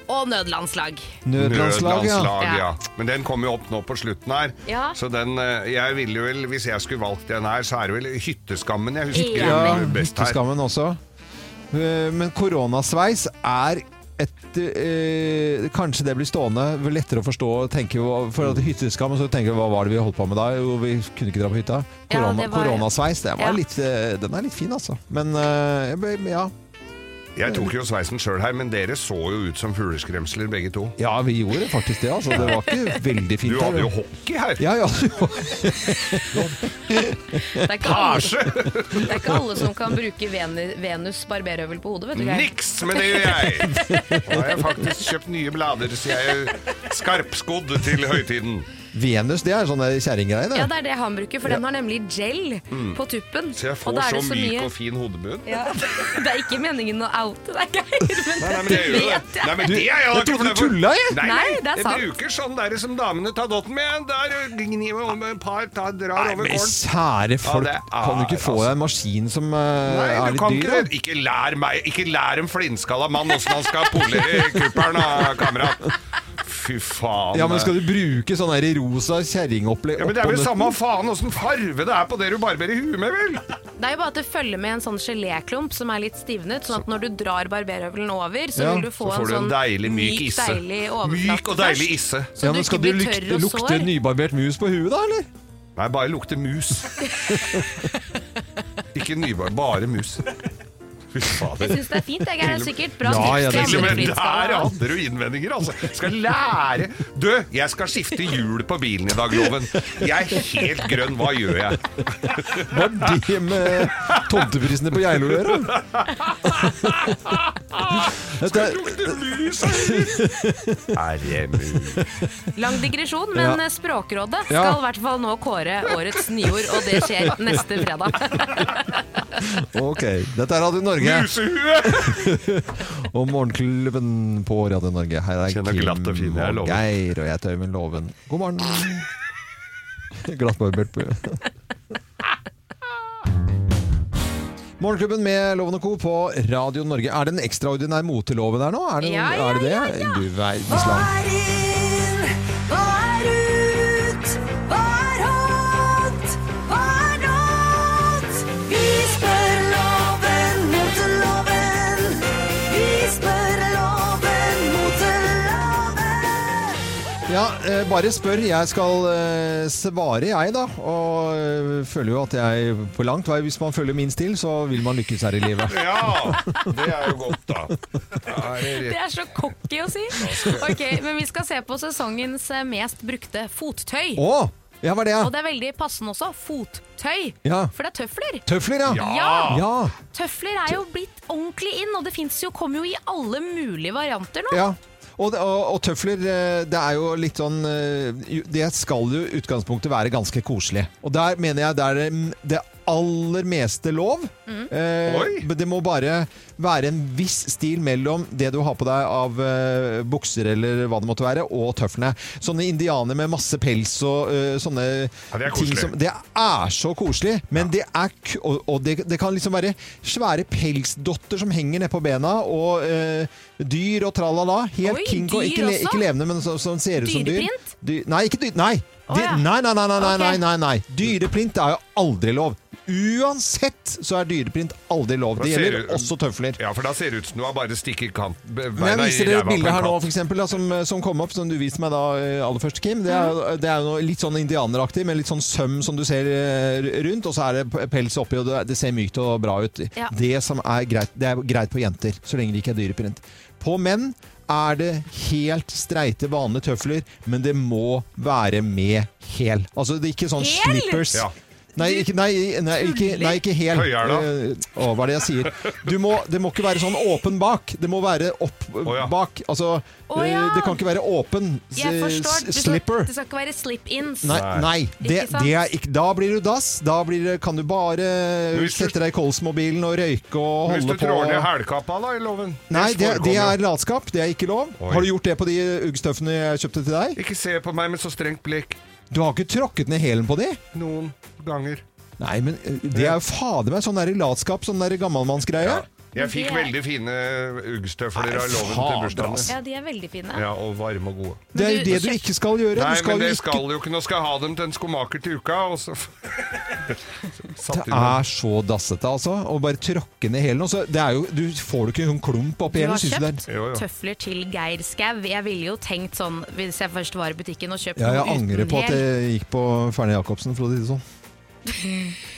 Speaker 3: og nødlandslag.
Speaker 1: Nødlandslag, ja.
Speaker 2: Nødlandslag, ja.
Speaker 3: Ja.
Speaker 2: Men den kom jo opp nå på slutten her.
Speaker 3: Ja.
Speaker 2: Så den eh, Jeg ville vel, hvis jeg skulle valgt den her, så er det vel Hytteskammen jeg husker
Speaker 3: Ja.
Speaker 1: Ja,
Speaker 2: best her.
Speaker 1: Hytteskammen også. Eh, Men koronasveis er et, eh, kanskje det blir stående vel lettere å forstå. Tenker, jo- for at hytteskam, så tenker vi hva var det vi holdt på med da? Jo, vi kunne ikke dra på hytta.
Speaker 3: Ja,
Speaker 1: Korona,
Speaker 3: det var-
Speaker 1: koronasveis, det var
Speaker 3: Ja.
Speaker 1: litt, eh, den er litt fin, altså. Men eh, jeg ble- ja.
Speaker 2: Jeg tok jo sveisen sjøl her, men dere så jo ut som fugleskremsler begge to.
Speaker 1: ja, vi gjorde faktisk det. Altså. Det var ikke veldig fint.
Speaker 2: Du hadde
Speaker 1: der.
Speaker 2: jo hockey her!
Speaker 1: ja, ja, du
Speaker 3: Det er ikke alle, det er ikke alle som kan bruke Venu- Venus barberhøvel på hodet, vet du. Geir.
Speaker 2: Niks, men det gjør jeg! Nå har jeg faktisk kjøpt nye blader, så jeg er skarpskodd til høytiden.
Speaker 1: Venus, det er sånn der kjerringgreie, det.
Speaker 3: Ja, det er det han bruker, for den har nemlig gel på tuppen.
Speaker 2: Mm. Så jeg
Speaker 3: og
Speaker 2: får
Speaker 3: da er
Speaker 2: så
Speaker 3: det så
Speaker 2: myk
Speaker 3: mye
Speaker 2: og fin hodebunn.
Speaker 3: ja. Det er ikke meningen å oute deg, Geir,
Speaker 2: Nei, nei,
Speaker 3: men
Speaker 2: men det gjør jo det. Nei, men
Speaker 3: du vet det.
Speaker 2: det er jo
Speaker 1: Jeg trodde du tulla, jeg.
Speaker 2: Nei,
Speaker 3: Nei, det er sant.
Speaker 2: Jeg bruker sånn der som damene tar dotten med. Der gnir vi om et par, tar, drar
Speaker 1: Nei,
Speaker 2: over
Speaker 1: men
Speaker 2: gården.
Speaker 1: sære folk,
Speaker 2: Ja, det er- altså.
Speaker 1: kan du ikke få deg en maskin som eh,
Speaker 2: Nei,
Speaker 1: er
Speaker 2: du
Speaker 1: litt
Speaker 2: kan
Speaker 1: dyr?
Speaker 2: ikke
Speaker 1: da?
Speaker 2: det. Ikke lær meg Ikke lær en flintskalla mann åssen han skal polere kuppelen, da, kamerat. Fy faen. eh.
Speaker 1: Ja, men skal du bruke sånn her rosa kjerringopplegg
Speaker 2: Ja, men Det er vel samme faen åssen farve det er på det du barberer huet med, vel?
Speaker 3: Det er jo bare at det følger med en sånn geléklump som er litt stivnet, sånn at når du drar barberhøvelen over, så
Speaker 1: Ja,
Speaker 3: vil du få
Speaker 2: Så får
Speaker 3: en
Speaker 2: du
Speaker 3: sånn
Speaker 2: en deilig myk isse.
Speaker 3: deilig overflate
Speaker 2: Myk og deilig
Speaker 3: først.
Speaker 2: isse.
Speaker 3: Så
Speaker 1: ja, men
Speaker 3: du ikke
Speaker 1: skal du
Speaker 3: blir
Speaker 1: lukte,
Speaker 3: tørr og
Speaker 1: lukte
Speaker 3: sår.
Speaker 1: nybarbert mus på huet da, eller?
Speaker 2: Nei, bare lukter mus. Ikke nybar, bare mus. Fy fader.
Speaker 3: Jeg syns det er fint, jeg, Geir. Det er sikkert bra
Speaker 1: Ja, ja, det er
Speaker 3: tips til
Speaker 2: Til og
Speaker 3: andre
Speaker 2: med
Speaker 3: flintskaller,
Speaker 2: der
Speaker 3: da.
Speaker 2: hadde du innvendinger, altså. Skal lære Du, jeg skal skifte hjul på bilen i dag, Loven. Jeg er helt grønn, hva gjør jeg?
Speaker 1: Hva er det med tomteprisene på Geilo å gjøre? Dette er-
Speaker 2: Herre min.
Speaker 3: Lang digresjon, men
Speaker 1: Ja.
Speaker 3: eh, Språkrådet
Speaker 1: Ja.
Speaker 3: skal i hvert fall nå kåre årets nyord, og det skjer neste fredag.
Speaker 1: Ok, dette er Radio Norge
Speaker 2: Musehue!
Speaker 1: og Morgenklubben på Radio Norge. Her er
Speaker 2: Kjenner
Speaker 1: Kim
Speaker 2: glatt og fin, jeg
Speaker 1: og
Speaker 2: lover.
Speaker 1: Geir, og jeg heter Øyvind Loven. God morgen. Glattbarbert på Morgenklubben med Loven og Co. på Radio Norge. Er det en ekstraordinær moteloven her nå? Er det,
Speaker 3: Ja, ja,
Speaker 1: er det, det?
Speaker 3: ja, ja.
Speaker 1: Du verdens land.
Speaker 6: er inn? Hva er ut? Hva er hot? Hva er not? Vi spør loven mot loven. Vi spør loven mot loven.
Speaker 1: Ja, eh, bare spør. Jeg skal eh, svare, jeg, da. Og eh, føler jo at jeg på langt vei Hvis man følger min stil, så vil man lykkes her i livet.
Speaker 2: Ja, det er jo godt, da. Da er det
Speaker 3: Det
Speaker 2: rett.
Speaker 3: er så cocky å si. Ok, Men vi skal se på sesongens eh, mest brukte fottøy.
Speaker 1: Å! Ja, hva er det?
Speaker 3: Og det er veldig passende også. Fottøy.
Speaker 1: Ja.
Speaker 3: For det er tøfler.
Speaker 1: Tøfler, ja.
Speaker 3: Ja.
Speaker 1: Ja.
Speaker 3: Tøfler er jo blitt ordentlig inn, og det finnes jo, kommer jo i alle mulige varianter nå.
Speaker 1: ja. Og, det- og, og tøfler, eh, det er jo litt sånn eh, jo- Det skal jo i utgangspunktet være ganske koselig. Og der mener jeg det er mm, det aller meste lov. Eh,
Speaker 2: Oi.
Speaker 1: men det må bare være en viss stil mellom det du har på deg av eh, bukser eller hva det måtte være, og tøflene. Sånne indianere med masse pels og eh, sånne
Speaker 2: Ja, det er
Speaker 1: ting
Speaker 2: koselig.
Speaker 1: som Det er så koselig, men det er k Og, og det, det kan liksom være svære pelsdotter som henger ned på bena, og eh, dyr og tralala. Helt
Speaker 3: Oi,
Speaker 1: kinko.
Speaker 3: dyr
Speaker 1: Ikke, le,
Speaker 3: også?
Speaker 1: ikke levende, men som, som ser ut som dyr.
Speaker 3: Dyreprint?
Speaker 1: Dy- Nei, ikke dyr. Nei.
Speaker 3: Å,
Speaker 1: Dy-
Speaker 3: ja.
Speaker 1: nei, nei, nei, nei, nei,
Speaker 3: Ok.
Speaker 1: nei, nei, nei. Dyreprint er jo aldri lov. Uansett så er dyreprint aldri lov. Det
Speaker 2: Da ser
Speaker 1: gjelder
Speaker 2: du-
Speaker 1: også tøfler.
Speaker 2: Ja, for da ser det ut som du har bare stikket kant
Speaker 1: Men jeg viser dere et bilde her nå
Speaker 2: for
Speaker 1: for eksempel, da, som, eh, som kom opp, som du viste meg da eh, aller først, Kim. Det er, jo- det er jo noe litt sånn indianeraktig, med litt sånn søm som du ser eh, rundt, og så er det p- pels oppi, og det, det ser mykt og bra ut.
Speaker 3: Ja.
Speaker 1: Det som er greit, det er greit på jenter, så lenge det ikke er dyreprint. På menn er det helt streite, vanlige tøfler, men det må være med hæl. Altså, det er ikke sånn
Speaker 3: Hæl?
Speaker 1: slippers.
Speaker 2: Ja.
Speaker 1: Nei, ikke, nei, nei, ikke, nei, ikke hel.
Speaker 2: Høyhæla.
Speaker 1: Eh, Å, hva er det jeg sier? Du må, det må ikke være sånn åpen bak. Det må være opp
Speaker 2: ja.
Speaker 1: bak. Altså,
Speaker 3: Å
Speaker 1: eh,
Speaker 3: ja.
Speaker 1: det kan ikke være åpen s-
Speaker 3: Jeg forstår.
Speaker 1: s-
Speaker 3: Du skal,
Speaker 1: slipper.
Speaker 3: det skal ikke være slip-ins.
Speaker 1: Nei, nei det,
Speaker 3: Ikke sant?
Speaker 1: det er ikke, da blir du dass. Da blir det, kan du bare
Speaker 2: Hvis du-
Speaker 1: sette deg i Kolsmobilen og røyke og
Speaker 2: Hvis du
Speaker 1: holde på.
Speaker 2: trår ned hælkappa, da, i loven.
Speaker 1: Nei, det,
Speaker 2: forekommer
Speaker 1: det
Speaker 2: jo.
Speaker 1: er latskap. Det er ikke lov.
Speaker 2: Oi.
Speaker 1: Har du gjort det på de uggstøffene jeg kjøpte til deg?
Speaker 2: Ikke se på meg med så strengt blikk.
Speaker 1: Du har ikke tråkket ned hælen på de?
Speaker 2: Noen ganger.
Speaker 1: Nei, men eh, det er jo fader meg sånn der latskap, sånn der gammalmannsgreie.
Speaker 2: Ja. Jeg fikk
Speaker 3: Det-
Speaker 2: veldig fine uggstøvler av loven til
Speaker 1: fader,
Speaker 2: bursdagen.
Speaker 1: ass.
Speaker 3: Ja, de er veldig fine.
Speaker 2: Ja, og varme og gode.
Speaker 1: Det er jo
Speaker 3: Men du-
Speaker 1: det du ikke skal gjøre.
Speaker 2: Nei,
Speaker 1: du skal
Speaker 2: men
Speaker 1: jo
Speaker 2: det
Speaker 1: ikke
Speaker 2: skal jo ikke. Nå skal jeg ha dem til en skomaker til uka, og så Satt
Speaker 1: Det
Speaker 2: i meg.
Speaker 1: er så dassete, altså. Å bare tråkke ned hælen. og så- det er jo- Du får du ikke en sånn klump oppi
Speaker 7: Du
Speaker 1: hælen?
Speaker 7: har
Speaker 1: synes du det er-
Speaker 7: kjøpt
Speaker 2: er- Jo, jo.
Speaker 7: tøfler til Geir Skau. Jeg ville jo tenkt sånn, hvis jeg først var i butikken og kjøpte
Speaker 1: Ja, jeg
Speaker 7: noe uten
Speaker 1: angrer på at
Speaker 7: hel.
Speaker 1: jeg gikk på Ferne Jacobsen, for å si det sånn.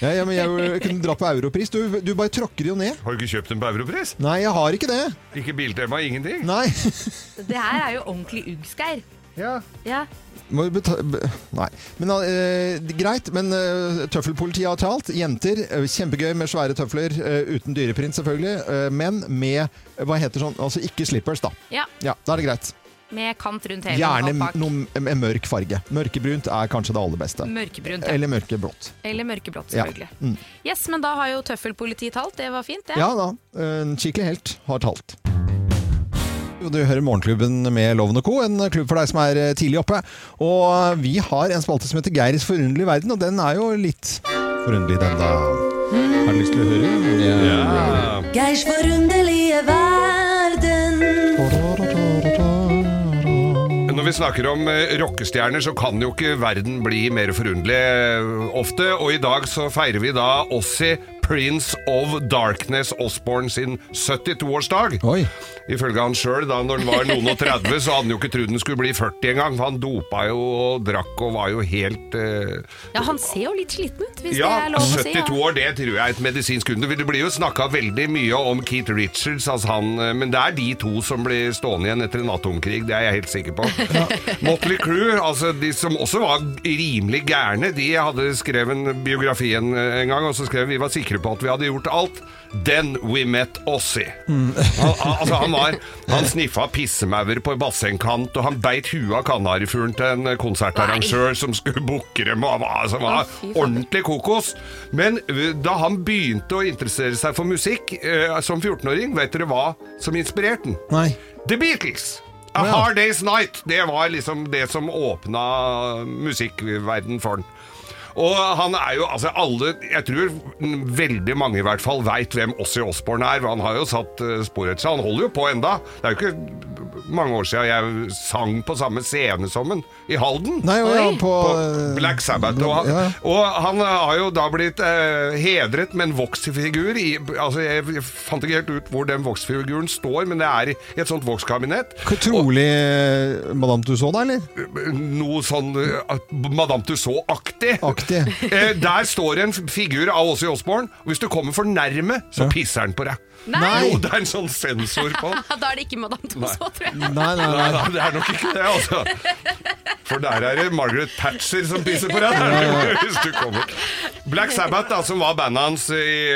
Speaker 1: Ja, ja, men jeg kunne dratt på Europris. Du, du bare tråkker jo ned.
Speaker 2: Har du ikke kjøpt dem på Europris?
Speaker 1: Nei, jeg har ikke det.
Speaker 2: Ikke Biltema, ingenting?
Speaker 1: Nei.
Speaker 7: Det her er jo ordentlig Uggsgeir.
Speaker 2: Ja.
Speaker 7: Ja.
Speaker 1: Må jo beta be- Nei. Men eh, greit, men eh, tøffelpolitiet har talt. Jenter, eh, kjempegøy med svære tøfler. eh, uten dyreprint, selvfølgelig. eh, men med eh, hva heter sånn Altså ikke slippers, da.
Speaker 7: ja.
Speaker 1: Ja, Da er det greit.
Speaker 7: Med kant rundt hele
Speaker 1: Gjerne
Speaker 7: og bak.
Speaker 1: noe med mørk farge. Mørkebrunt er kanskje det aller beste.
Speaker 7: Mørkebrunt, ja.
Speaker 1: Eller mørkeblått.
Speaker 7: Eller mørkeblått,
Speaker 1: Ja.
Speaker 7: selvfølgelig.
Speaker 1: Mm.
Speaker 7: Yes, men da har jo tøffelpolitiet talt. Det var fint, det.
Speaker 1: Ja da, en skikkelig helt har talt. Du hører Morgenklubben med Loven og Co., en klubb for deg som er eh, tidlig oppe. Og eh, vi har en spalte som heter Geirs forunderlige verden, og den er jo litt forunderlig, den da. Har du lyst til å høre?
Speaker 6: Geirs forunderlige verden.
Speaker 2: Når vi snakker om eh, rockestjerner, så kan jo ikke verden bli mer forunderlig eh, ofte. Og i dag så feirer vi da Ossie Prince of Darkness Osborne sin 72-årsdag.
Speaker 1: Oi.
Speaker 2: Ifølge han sjøl, da når han var noen og 30, så hadde han jo ikke trodd han skulle bli 40 engang. Han dopa jo og drakk og var jo helt eh,
Speaker 7: Ja, han ser jo litt sliten ut, hvis
Speaker 2: ja,
Speaker 7: det er lov å si.
Speaker 2: 72 år, det tror jeg er et medisinsk under. Det blir jo snakka veldig mye om Keith Richards, altså han, men det er de to som blir stående igjen etter en atomkrig, det er jeg helt sikker på. Motley Crew, altså de som også var rimelig gærne, de hadde skrevet en biografi en, eh, en gang, og så skrev vi var sikre på at vi hadde gjort alt. Then we met Ossie. Han, al- altså han, var, han sniffa pissemaur på en bassengkant, og han beit huet av kanarifuglen til en konsertarrangør som skulle booke dem. Og han var, altså, han var ordentlig kokos. Men ø, da han begynte å interessere seg for musikk ø, som 14-åring, vet dere hva som inspirerte den?
Speaker 1: Nei.
Speaker 2: The Beatles! A
Speaker 1: Å ja.
Speaker 2: Hard Day's Night! Det var liksom det som åpna musikkverden for den. Og han er jo, altså alle, jeg tror veldig mange i hvert fall veit hvem Ossie Osborne er. Han har jo satt eh, spor etter seg. Han holder jo på enda. Det er jo ikke mange år siden jeg sang på samme scene som han, i Halden.
Speaker 1: Nei, og ja, på, eh,
Speaker 2: På Black Sabbath. Og, han-
Speaker 1: Ja.
Speaker 2: og han har jo da blitt eh, hedret med en voksfigur. i- Altså, jeg fant ikke helt ut hvor den voksfiguren står, men det er i et sånt vokskabinett.
Speaker 1: Hvor trolig eh, Madame Tussauds, da, eller?
Speaker 2: Noe sånn eh, at- Madame Tussauds-aktig.
Speaker 1: Aktig.
Speaker 2: Eh, der står det en f- figur av Åse Osborn, og hvis du kommer for nærme, så pisser han på deg.
Speaker 1: Nei.
Speaker 2: Jo, det er en sånn sensor på den.
Speaker 7: Da er det ikke Madame Tussauds, tror jeg.
Speaker 1: Nei, nei,
Speaker 2: Nei,
Speaker 1: nei.
Speaker 2: nei, det er nok ikke det, altså. For der er det Margaret Thatcher som pisser på deg. Der, hvis du kommer. Black Sabbath, da, som var bandet hans i,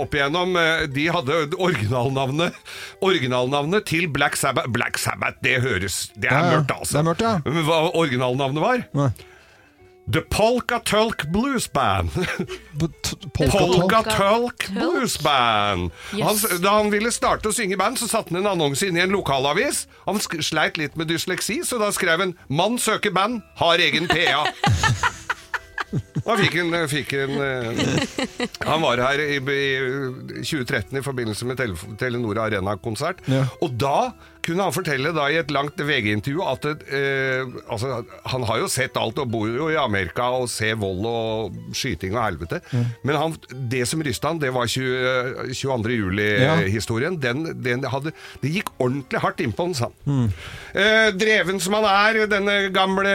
Speaker 2: opp igjennom, eh, de hadde originalnavnet Originalnavnet til Black Sabbath Black Sabbath, det høres Det er
Speaker 1: Ja, ja.
Speaker 2: mørkt, altså.
Speaker 1: Det er mørkt, ja.
Speaker 2: Men hva originalnavnet var?
Speaker 1: Nei.
Speaker 2: The Polka Tulk Blues Band. Polka Tulk Blues Band.
Speaker 7: Yes.
Speaker 2: Han, da han ville starte å synge i band, så satte han en annonse inn i en lokalavis. Han sk sleit litt med dysleksi, så da skrev han 'Mann søker band, har egen PA'. Da fikk han, fikk han eh, Han var her i, i 2013 i forbindelse med Tele- Telenor Arena-konsert.
Speaker 1: Ja.
Speaker 2: Og da kunne han fortelle da i et langt VG-intervju at eh, altså, han har jo sett alt og bor jo i Amerika og ser vold og skyting og helvete. Men han, det som rysta han, det var 20, 22. juli-historien. eh, Den, den hadde, det gikk ordentlig hardt innpå han, sa han.
Speaker 1: Mm.
Speaker 2: Eh, dreven som han er, denne gamle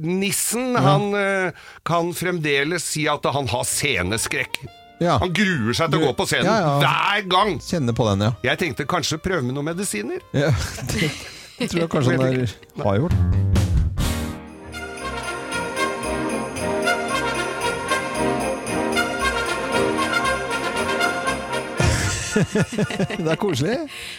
Speaker 2: nissen, han eh, kan fremdeles si at han har sceneskrekk.
Speaker 1: Ja.
Speaker 2: Han gruer seg til å gå på scenen
Speaker 1: Ja, ja.
Speaker 2: hver gang.
Speaker 1: Kjenner på den, ja.
Speaker 2: Jeg tenkte kanskje prøve med noen medisiner.
Speaker 1: ja. Det tror jeg kanskje han er, har gjort. Det er koselig.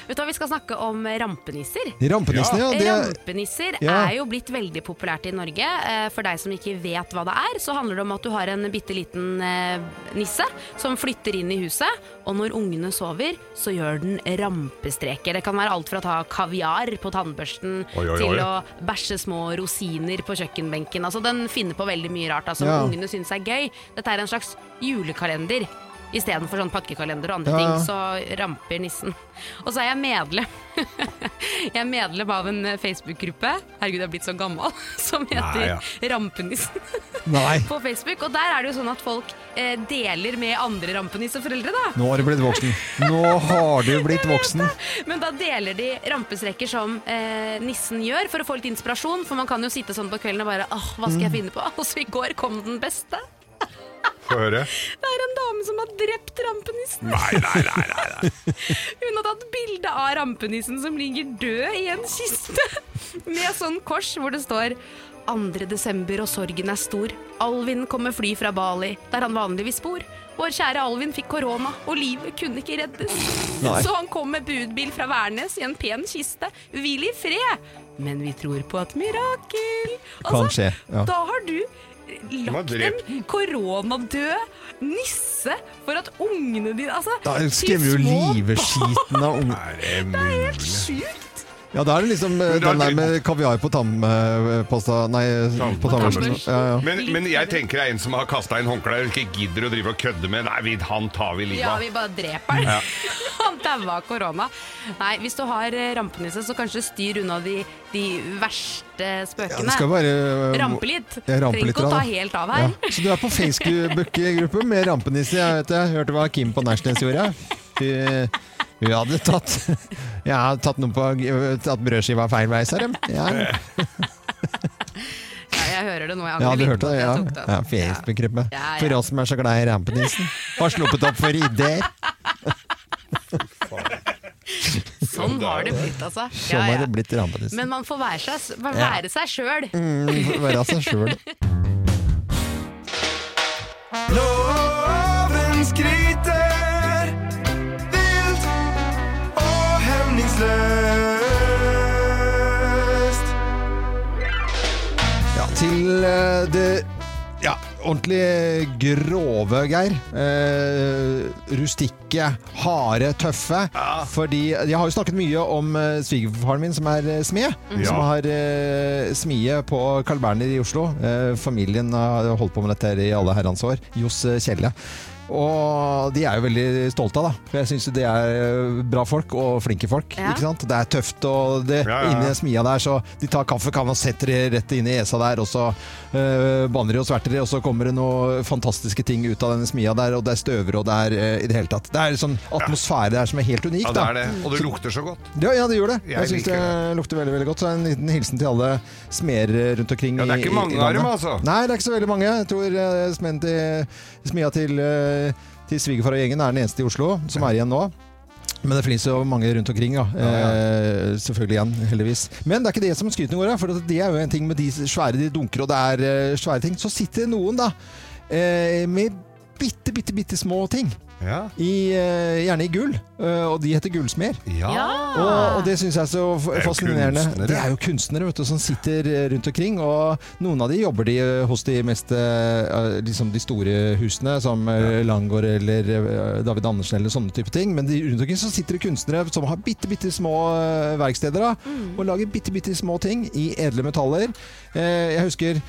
Speaker 3: Vet du hva, Vi skal snakke om rampenisser.
Speaker 1: Rampenissene, ja. Det,
Speaker 3: Rampenisser
Speaker 1: Ja.
Speaker 3: er jo blitt veldig populært i Norge. Eh, For deg som ikke vet hva det er, så handler det om at du har en bitte liten eh, nisse som flytter inn i huset, og når ungene sover, så gjør den rampestreker. Det kan være alt fra å ta kaviar på tannbørsten
Speaker 2: Oi, oi, oi.
Speaker 3: til å bæsje små rosiner på kjøkkenbenken. Altså Den finner på veldig mye rart da, som
Speaker 1: Ja.
Speaker 3: ungene syns er gøy. Dette er en slags julekalender. Istedenfor sånn pakkekalender og andre
Speaker 1: Ja, ja.
Speaker 3: ting, så ramper nissen. Og så er jeg medlem. jeg er medlem av en eh, Facebook-gruppe, herregud jeg er blitt så gammel, som heter
Speaker 2: Nei, ja.
Speaker 3: Rampenissen
Speaker 1: Nei,
Speaker 3: på Facebook. Og der er det jo sånn at folk eh, deler med andre rampenisseforeldre, da.
Speaker 1: nå har du blitt voksen. Nå har du blitt voksen.
Speaker 3: Men da deler de rampestreker som eh, nissen gjør, for å få litt inspirasjon. For man kan jo sitte sånn på kvelden og bare åh, hva skal jeg finne på? Og så i går kom den beste.
Speaker 2: Få høre.
Speaker 3: Det er en dame som har drept rampenissen.
Speaker 2: Nei, nei, nei. nei, nei.
Speaker 3: Hun har tatt bilde av rampenissen som ligger død i en kiste, med sånn kors hvor det står 2. desember og sorgen er stor. Alvin kommer fly fra Bali, der han vanligvis bor. Vår kjære Alvin fikk korona, og livet kunne ikke reddes.
Speaker 1: Nei.
Speaker 3: Så han kom med budbil fra Værnes i en pen kiste. Hvil i fred! Men vi tror på et mirakel.
Speaker 1: Kan skje, ja.
Speaker 3: Da har du
Speaker 2: har
Speaker 3: lagt
Speaker 2: drept
Speaker 3: en koronadød nisse for at ungene dine altså,
Speaker 1: Da
Speaker 3: til
Speaker 1: skremmer du
Speaker 3: små
Speaker 1: liveskiten av ungen.
Speaker 2: Er det mulig?
Speaker 3: Sjukt!
Speaker 1: Ja, da er det liksom eh,
Speaker 2: Men da-
Speaker 1: den der med kaviar på tannpasta Nei,
Speaker 2: Tam-
Speaker 1: på tannbørsten.
Speaker 3: tannbørsten.
Speaker 1: Ja, ja.
Speaker 2: Men, men jeg tenker det er en som har kasta inn håndkleet og ikke gidder å drive og kødde med. Nei, vi, han tar vi livet
Speaker 3: Ja,
Speaker 2: av.
Speaker 3: vi bare dreper den. Han daua av korona. Nei, hvis du har eh, rampenisse, så kanskje styr unna de, de verste
Speaker 1: Ja, det
Speaker 3: spøkene.
Speaker 1: skal være eh,
Speaker 3: Rampe litt.
Speaker 1: Ja, rampe
Speaker 3: Trenger
Speaker 1: litt,
Speaker 3: ikke å
Speaker 1: da.
Speaker 3: ta helt av her.
Speaker 1: Ja. Så du er på Facebook-gruppe med rampenisse. Jeg, vet, jeg hørte hva Kim på Nærsnes gjorde. Hun, hun hadde tatt Jeg hadde tatt, noe på, tatt brødskiva feil vei, sa de. Ja,
Speaker 3: Ja, jeg hører det nå. Jeg
Speaker 1: ja,
Speaker 3: angrer
Speaker 1: du
Speaker 3: litt
Speaker 1: hørte det?
Speaker 3: på at
Speaker 1: Ja.
Speaker 3: jeg tok den.
Speaker 1: ja Facebook-gruppe.
Speaker 3: Ja, ja.
Speaker 1: For oss som er så glad i rampenissen. Har sluppet opp for ideer.
Speaker 3: Sånn har det blitt, altså.
Speaker 1: Sånn
Speaker 3: Ja,
Speaker 1: har
Speaker 3: ja.
Speaker 1: det blitt rampenissen.
Speaker 3: Men man får være seg- være seg sjøl.
Speaker 1: Mm, får Være seg sjøl.
Speaker 5: Loven skryter vilt og hemningsløst.
Speaker 1: Ja, til eh, det ja, ordentlig grove, Geir. Eh, rustikke, harde, tøffe. Fordi jeg har jo snakket mye om eh, svigerfaren min, som er eh, smed. Som
Speaker 2: Ja.
Speaker 1: har eh, smie på Carl Berner i Oslo. Eh, familien har holdt på med dette her i alle herrens år. Johs eh, Kjelle. Og de er jo veldig stolte av, da. For jeg syns jo de er eh, bra folk og flinke folk.
Speaker 3: Ja.
Speaker 1: Ikke sant? Det er tøft, og det,
Speaker 2: Ja, ja, ja.
Speaker 1: inni smia der, så de tar kaffekanna og setter det rett inn i esa der, og så øh, banner de og sverter de, og så kommer det noen fantastiske ting ut av denne smia der, og det er støver, og det er øh, i det hele tatt. Det er en sånn atmosfære der som er helt unik,
Speaker 2: Ja, det
Speaker 1: da.
Speaker 2: er det. Og det lukter så godt.
Speaker 1: Ja, ja, det gjør det. Jeg,
Speaker 2: Jeg
Speaker 1: syns
Speaker 2: liker
Speaker 1: det lukter veldig veldig godt. Så en liten hilsen til alle smeder rundt omkring.
Speaker 2: Ja, det er
Speaker 1: i-
Speaker 2: ikke
Speaker 1: i-
Speaker 2: mange
Speaker 1: i landet.
Speaker 2: av dem, altså.
Speaker 1: Nei, det er ikke så veldig mange. Jeg tror eh, smeden til smia til, eh, til svigerfar og gjengen er den eneste i Oslo som er igjen nå. Men det finnes jo mange rundt omkring, ja. Eh, selvfølgelig igjen, heldigvis. Men det er ikke det som skrytene går av, for det er jo en ting med de svære de dunker, og det er eh, svære ting. Så sitter noen, da, eh, med bitte, bitte, bitte små ting.
Speaker 2: Ja.
Speaker 1: I, eh, gjerne i gull, eh, og de heter gullsmeder.
Speaker 2: ja.
Speaker 1: Og, og det syns jeg er så f-
Speaker 2: er jo
Speaker 1: fascinerende.
Speaker 2: kunstnere.
Speaker 1: Det er jo kunstnere vet du, som sitter eh, rundt omkring, og noen av de jobber de eh, hos de mest eh, liksom de store husene, som eh, Langgaard eller eh, David Andersen eller sånne type ting. Men de, rundt omkring så sitter det kunstnere som har bitte, bitte små eh, verksteder da, og lager bitte, bitte små ting i edle metaller. Eh, Jeg husker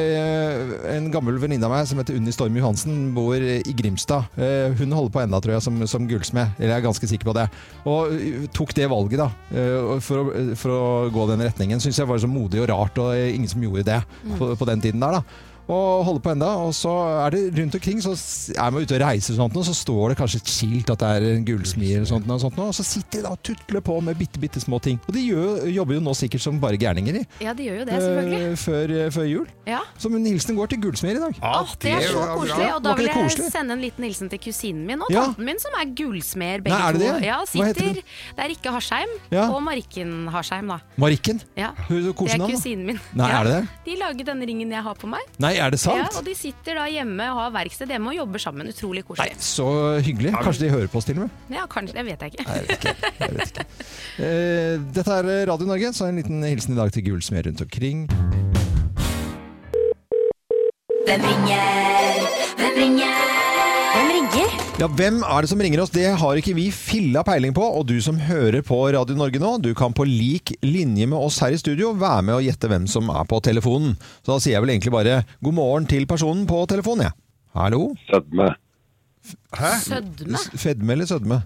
Speaker 1: eh, en gammel venninne av meg som heter Unni Storm Johansen, bor i Grimstad. Eh, Hun holder på enda, tror jeg, som, som gullsmed. Eller jeg er ganske sikker på det. Og eh, tok det valget, da. eh, og For å, for å gå den retningen. Syns jeg var så modig og rart, og eh, ingen som gjorde det på, på den tiden der, da. Og holder på enda, og så er det rundt omkring, så s- er man ute og reiser og sånt, og så står det kanskje et skilt at det er en gullsmed eller sånt, og sånt, og så sitter de da og tutler på med bitte, bitte små ting. Og de gjør, jobber jo nå sikkert som bare gærninger, de.
Speaker 3: Ja, de gjør jo det, selvfølgelig.
Speaker 1: Eh, før, før jul.
Speaker 3: Ja.
Speaker 1: Så min hilsen går til gullsmed i dag.
Speaker 2: Ja,
Speaker 3: Åh, det er så
Speaker 2: var bra.
Speaker 3: koselig.
Speaker 1: Var
Speaker 3: Og da
Speaker 1: ikke
Speaker 3: vil
Speaker 1: det koselig?
Speaker 3: jeg sende en liten hilsen til kusinen min og
Speaker 1: Ja.
Speaker 3: tanten min, som er gullsmeder begge
Speaker 1: Nei, er det
Speaker 3: to.
Speaker 1: det?
Speaker 3: Ja,
Speaker 1: Hva heter
Speaker 3: sitter,
Speaker 1: hun?
Speaker 3: det er Rikke Harsheim
Speaker 1: Ja.
Speaker 3: og Marken Harsheim, da.
Speaker 1: Marikken.
Speaker 3: Ja.
Speaker 1: Hun er
Speaker 3: Det er
Speaker 1: kosen da.
Speaker 3: kusinen min.
Speaker 1: Nei,
Speaker 3: Ja.
Speaker 1: er det det?
Speaker 3: De lager den ringen jeg har på meg.
Speaker 1: Nei, er det
Speaker 3: Ja,
Speaker 1: sant?
Speaker 3: og de sitter da hjemme og har verksted hjemme og jobber sammen. Utrolig
Speaker 1: Nei,
Speaker 3: koselig.
Speaker 1: så hyggelig. Kanskje de hører på oss til og med.
Speaker 3: Ja, kanskje, det vet jeg ikke.
Speaker 1: Eh, dette er Radio Norge, så en liten hilsen i dag til gullsmed rundt omkring.
Speaker 6: Hvem ringer? Hvem ringer? Hvem ringer?
Speaker 1: Ja, Hvem er det som ringer oss? Det har ikke vi filla peiling på. Og du som hører på Radio Norge nå, du kan på lik linje med oss her i studio være med og gjette hvem som er på telefonen. Så da sier jeg vel egentlig bare god morgen til personen på telefonen, jeg. Hallo?
Speaker 8: Sødme.
Speaker 2: Hæ?
Speaker 3: Sødme?
Speaker 1: Fedme eller sødme?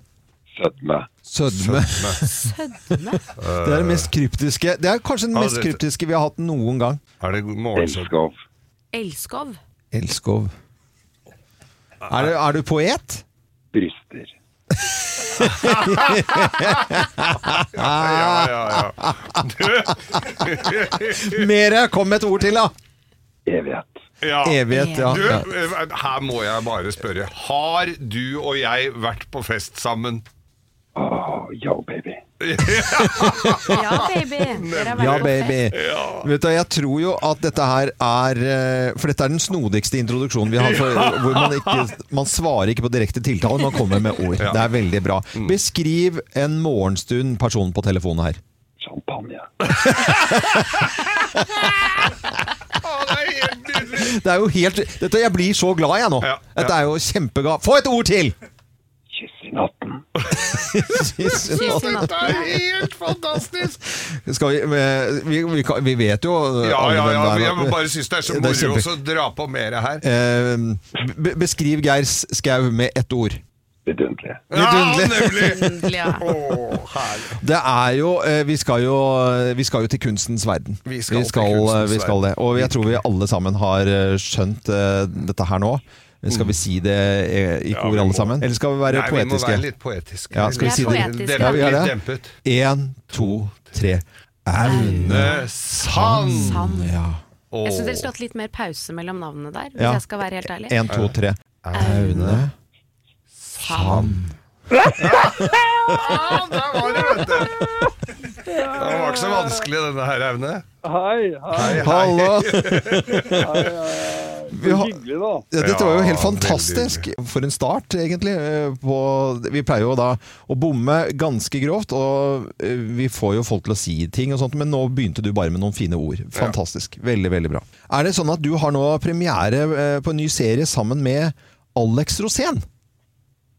Speaker 8: Sødme.
Speaker 1: Sødme.
Speaker 3: Sødme?
Speaker 1: Det er det mest kryptiske Det er kanskje den
Speaker 2: Ja,
Speaker 1: mest
Speaker 2: det-
Speaker 1: kryptiske vi har hatt noen gang.
Speaker 2: Er det morgensødme?
Speaker 8: Elskov.
Speaker 3: Elskov?
Speaker 1: Elskov. Er du, er du poet?
Speaker 8: Bryster.
Speaker 2: Ja, ja, ja.
Speaker 1: Mere! Kom med et ord til, da!
Speaker 8: Evighet.
Speaker 2: ja.
Speaker 1: Evighet, ja.
Speaker 2: Du, eh,
Speaker 1: ja.
Speaker 2: her må jeg bare spørre. Har du og jeg vært på fest sammen?
Speaker 8: Åh, Ah, yo baby.
Speaker 3: Ja, baby. Dere har vært
Speaker 1: Ja,
Speaker 3: på
Speaker 1: baby.
Speaker 3: fest.
Speaker 1: Vet du, jeg tror jo at dette her er eh, For dette er den snodigste introduksjonen vi har. For, hvor man, ikke, man svarer ikke på direkte tiltale, man kommer med ord. Det er veldig bra.
Speaker 2: Mm.
Speaker 1: Beskriv en morgenstund personen på telefonen her.
Speaker 8: Champagne.
Speaker 2: Å, det er helt nydelig!
Speaker 1: Det er jo helt dette, Jeg blir så glad jeg nå.
Speaker 2: Ja, ja.
Speaker 1: Dette er jo kjempega... Få et ord til!
Speaker 8: Kyss i natten.
Speaker 3: Tusen takk.
Speaker 2: Det er helt fantastisk!
Speaker 1: Skal vi, eh, vi, vi, kan- vi vet jo eh,
Speaker 2: Ja,
Speaker 1: alle
Speaker 2: ja,
Speaker 1: hvem
Speaker 2: ja.
Speaker 1: det er,
Speaker 2: Jeg bare syns det er så
Speaker 1: Det er
Speaker 2: moro
Speaker 1: kjempe-
Speaker 2: også å dra på mer her.
Speaker 1: Eh, be- Beskriv Geir Skau med ett ord.
Speaker 8: Vidunderlig.
Speaker 2: Ja,
Speaker 1: Vidunderlig.
Speaker 2: nemlig!
Speaker 7: Endelig, ja.
Speaker 2: Å, herlig.
Speaker 1: Det er jo eh, Vi skal jo, vi skal jo til kunstens verden.
Speaker 2: Vi skal til
Speaker 1: eh,
Speaker 2: kunstens
Speaker 1: vi skal det. Og jeg tror vi alle sammen har eh, skjønt eh, dette her nå. Skal vi si det eh, i
Speaker 2: Mm. Ja,
Speaker 1: kor,
Speaker 2: vi må.
Speaker 1: alle sammen? Eller skal vi være
Speaker 2: Nei, vi må
Speaker 1: poetiske?
Speaker 2: være litt poetiske.
Speaker 1: Ja, skal vi
Speaker 3: si det?
Speaker 2: Litt
Speaker 3: Ja,
Speaker 1: vi
Speaker 2: Dempet,
Speaker 1: gjør
Speaker 2: litt
Speaker 1: det.
Speaker 2: dempet.
Speaker 1: Én, to, tre. Aune
Speaker 2: Eh, Sand!
Speaker 3: Sand.
Speaker 1: Ja.
Speaker 3: Jeg syns dere skulle hatt litt mer pause mellom navnene der, hvis
Speaker 1: Ja.
Speaker 3: jeg skal være helt ærlig.
Speaker 1: Én, to, tre. Aune Sand.
Speaker 2: Ja, der var det, vet du! Det var ikke så vanskelig, denne her, Aune.
Speaker 8: Hei, hei.
Speaker 1: Hallo! Vi har,
Speaker 8: Hyggelig, da.
Speaker 1: Ja, dette var jo
Speaker 2: Ja,
Speaker 1: helt
Speaker 2: veldig
Speaker 1: fantastisk. For en start, egentlig. eh, På, vi pleier jo da å bomme ganske grovt, og eh, vi får jo folk til å si ting og sånt, men nå begynte du bare med noen fine ord. Fantastisk. Veldig, veldig bra. Er det sånn at du har nå premiere eh, på en ny serie sammen med Alex Rosén?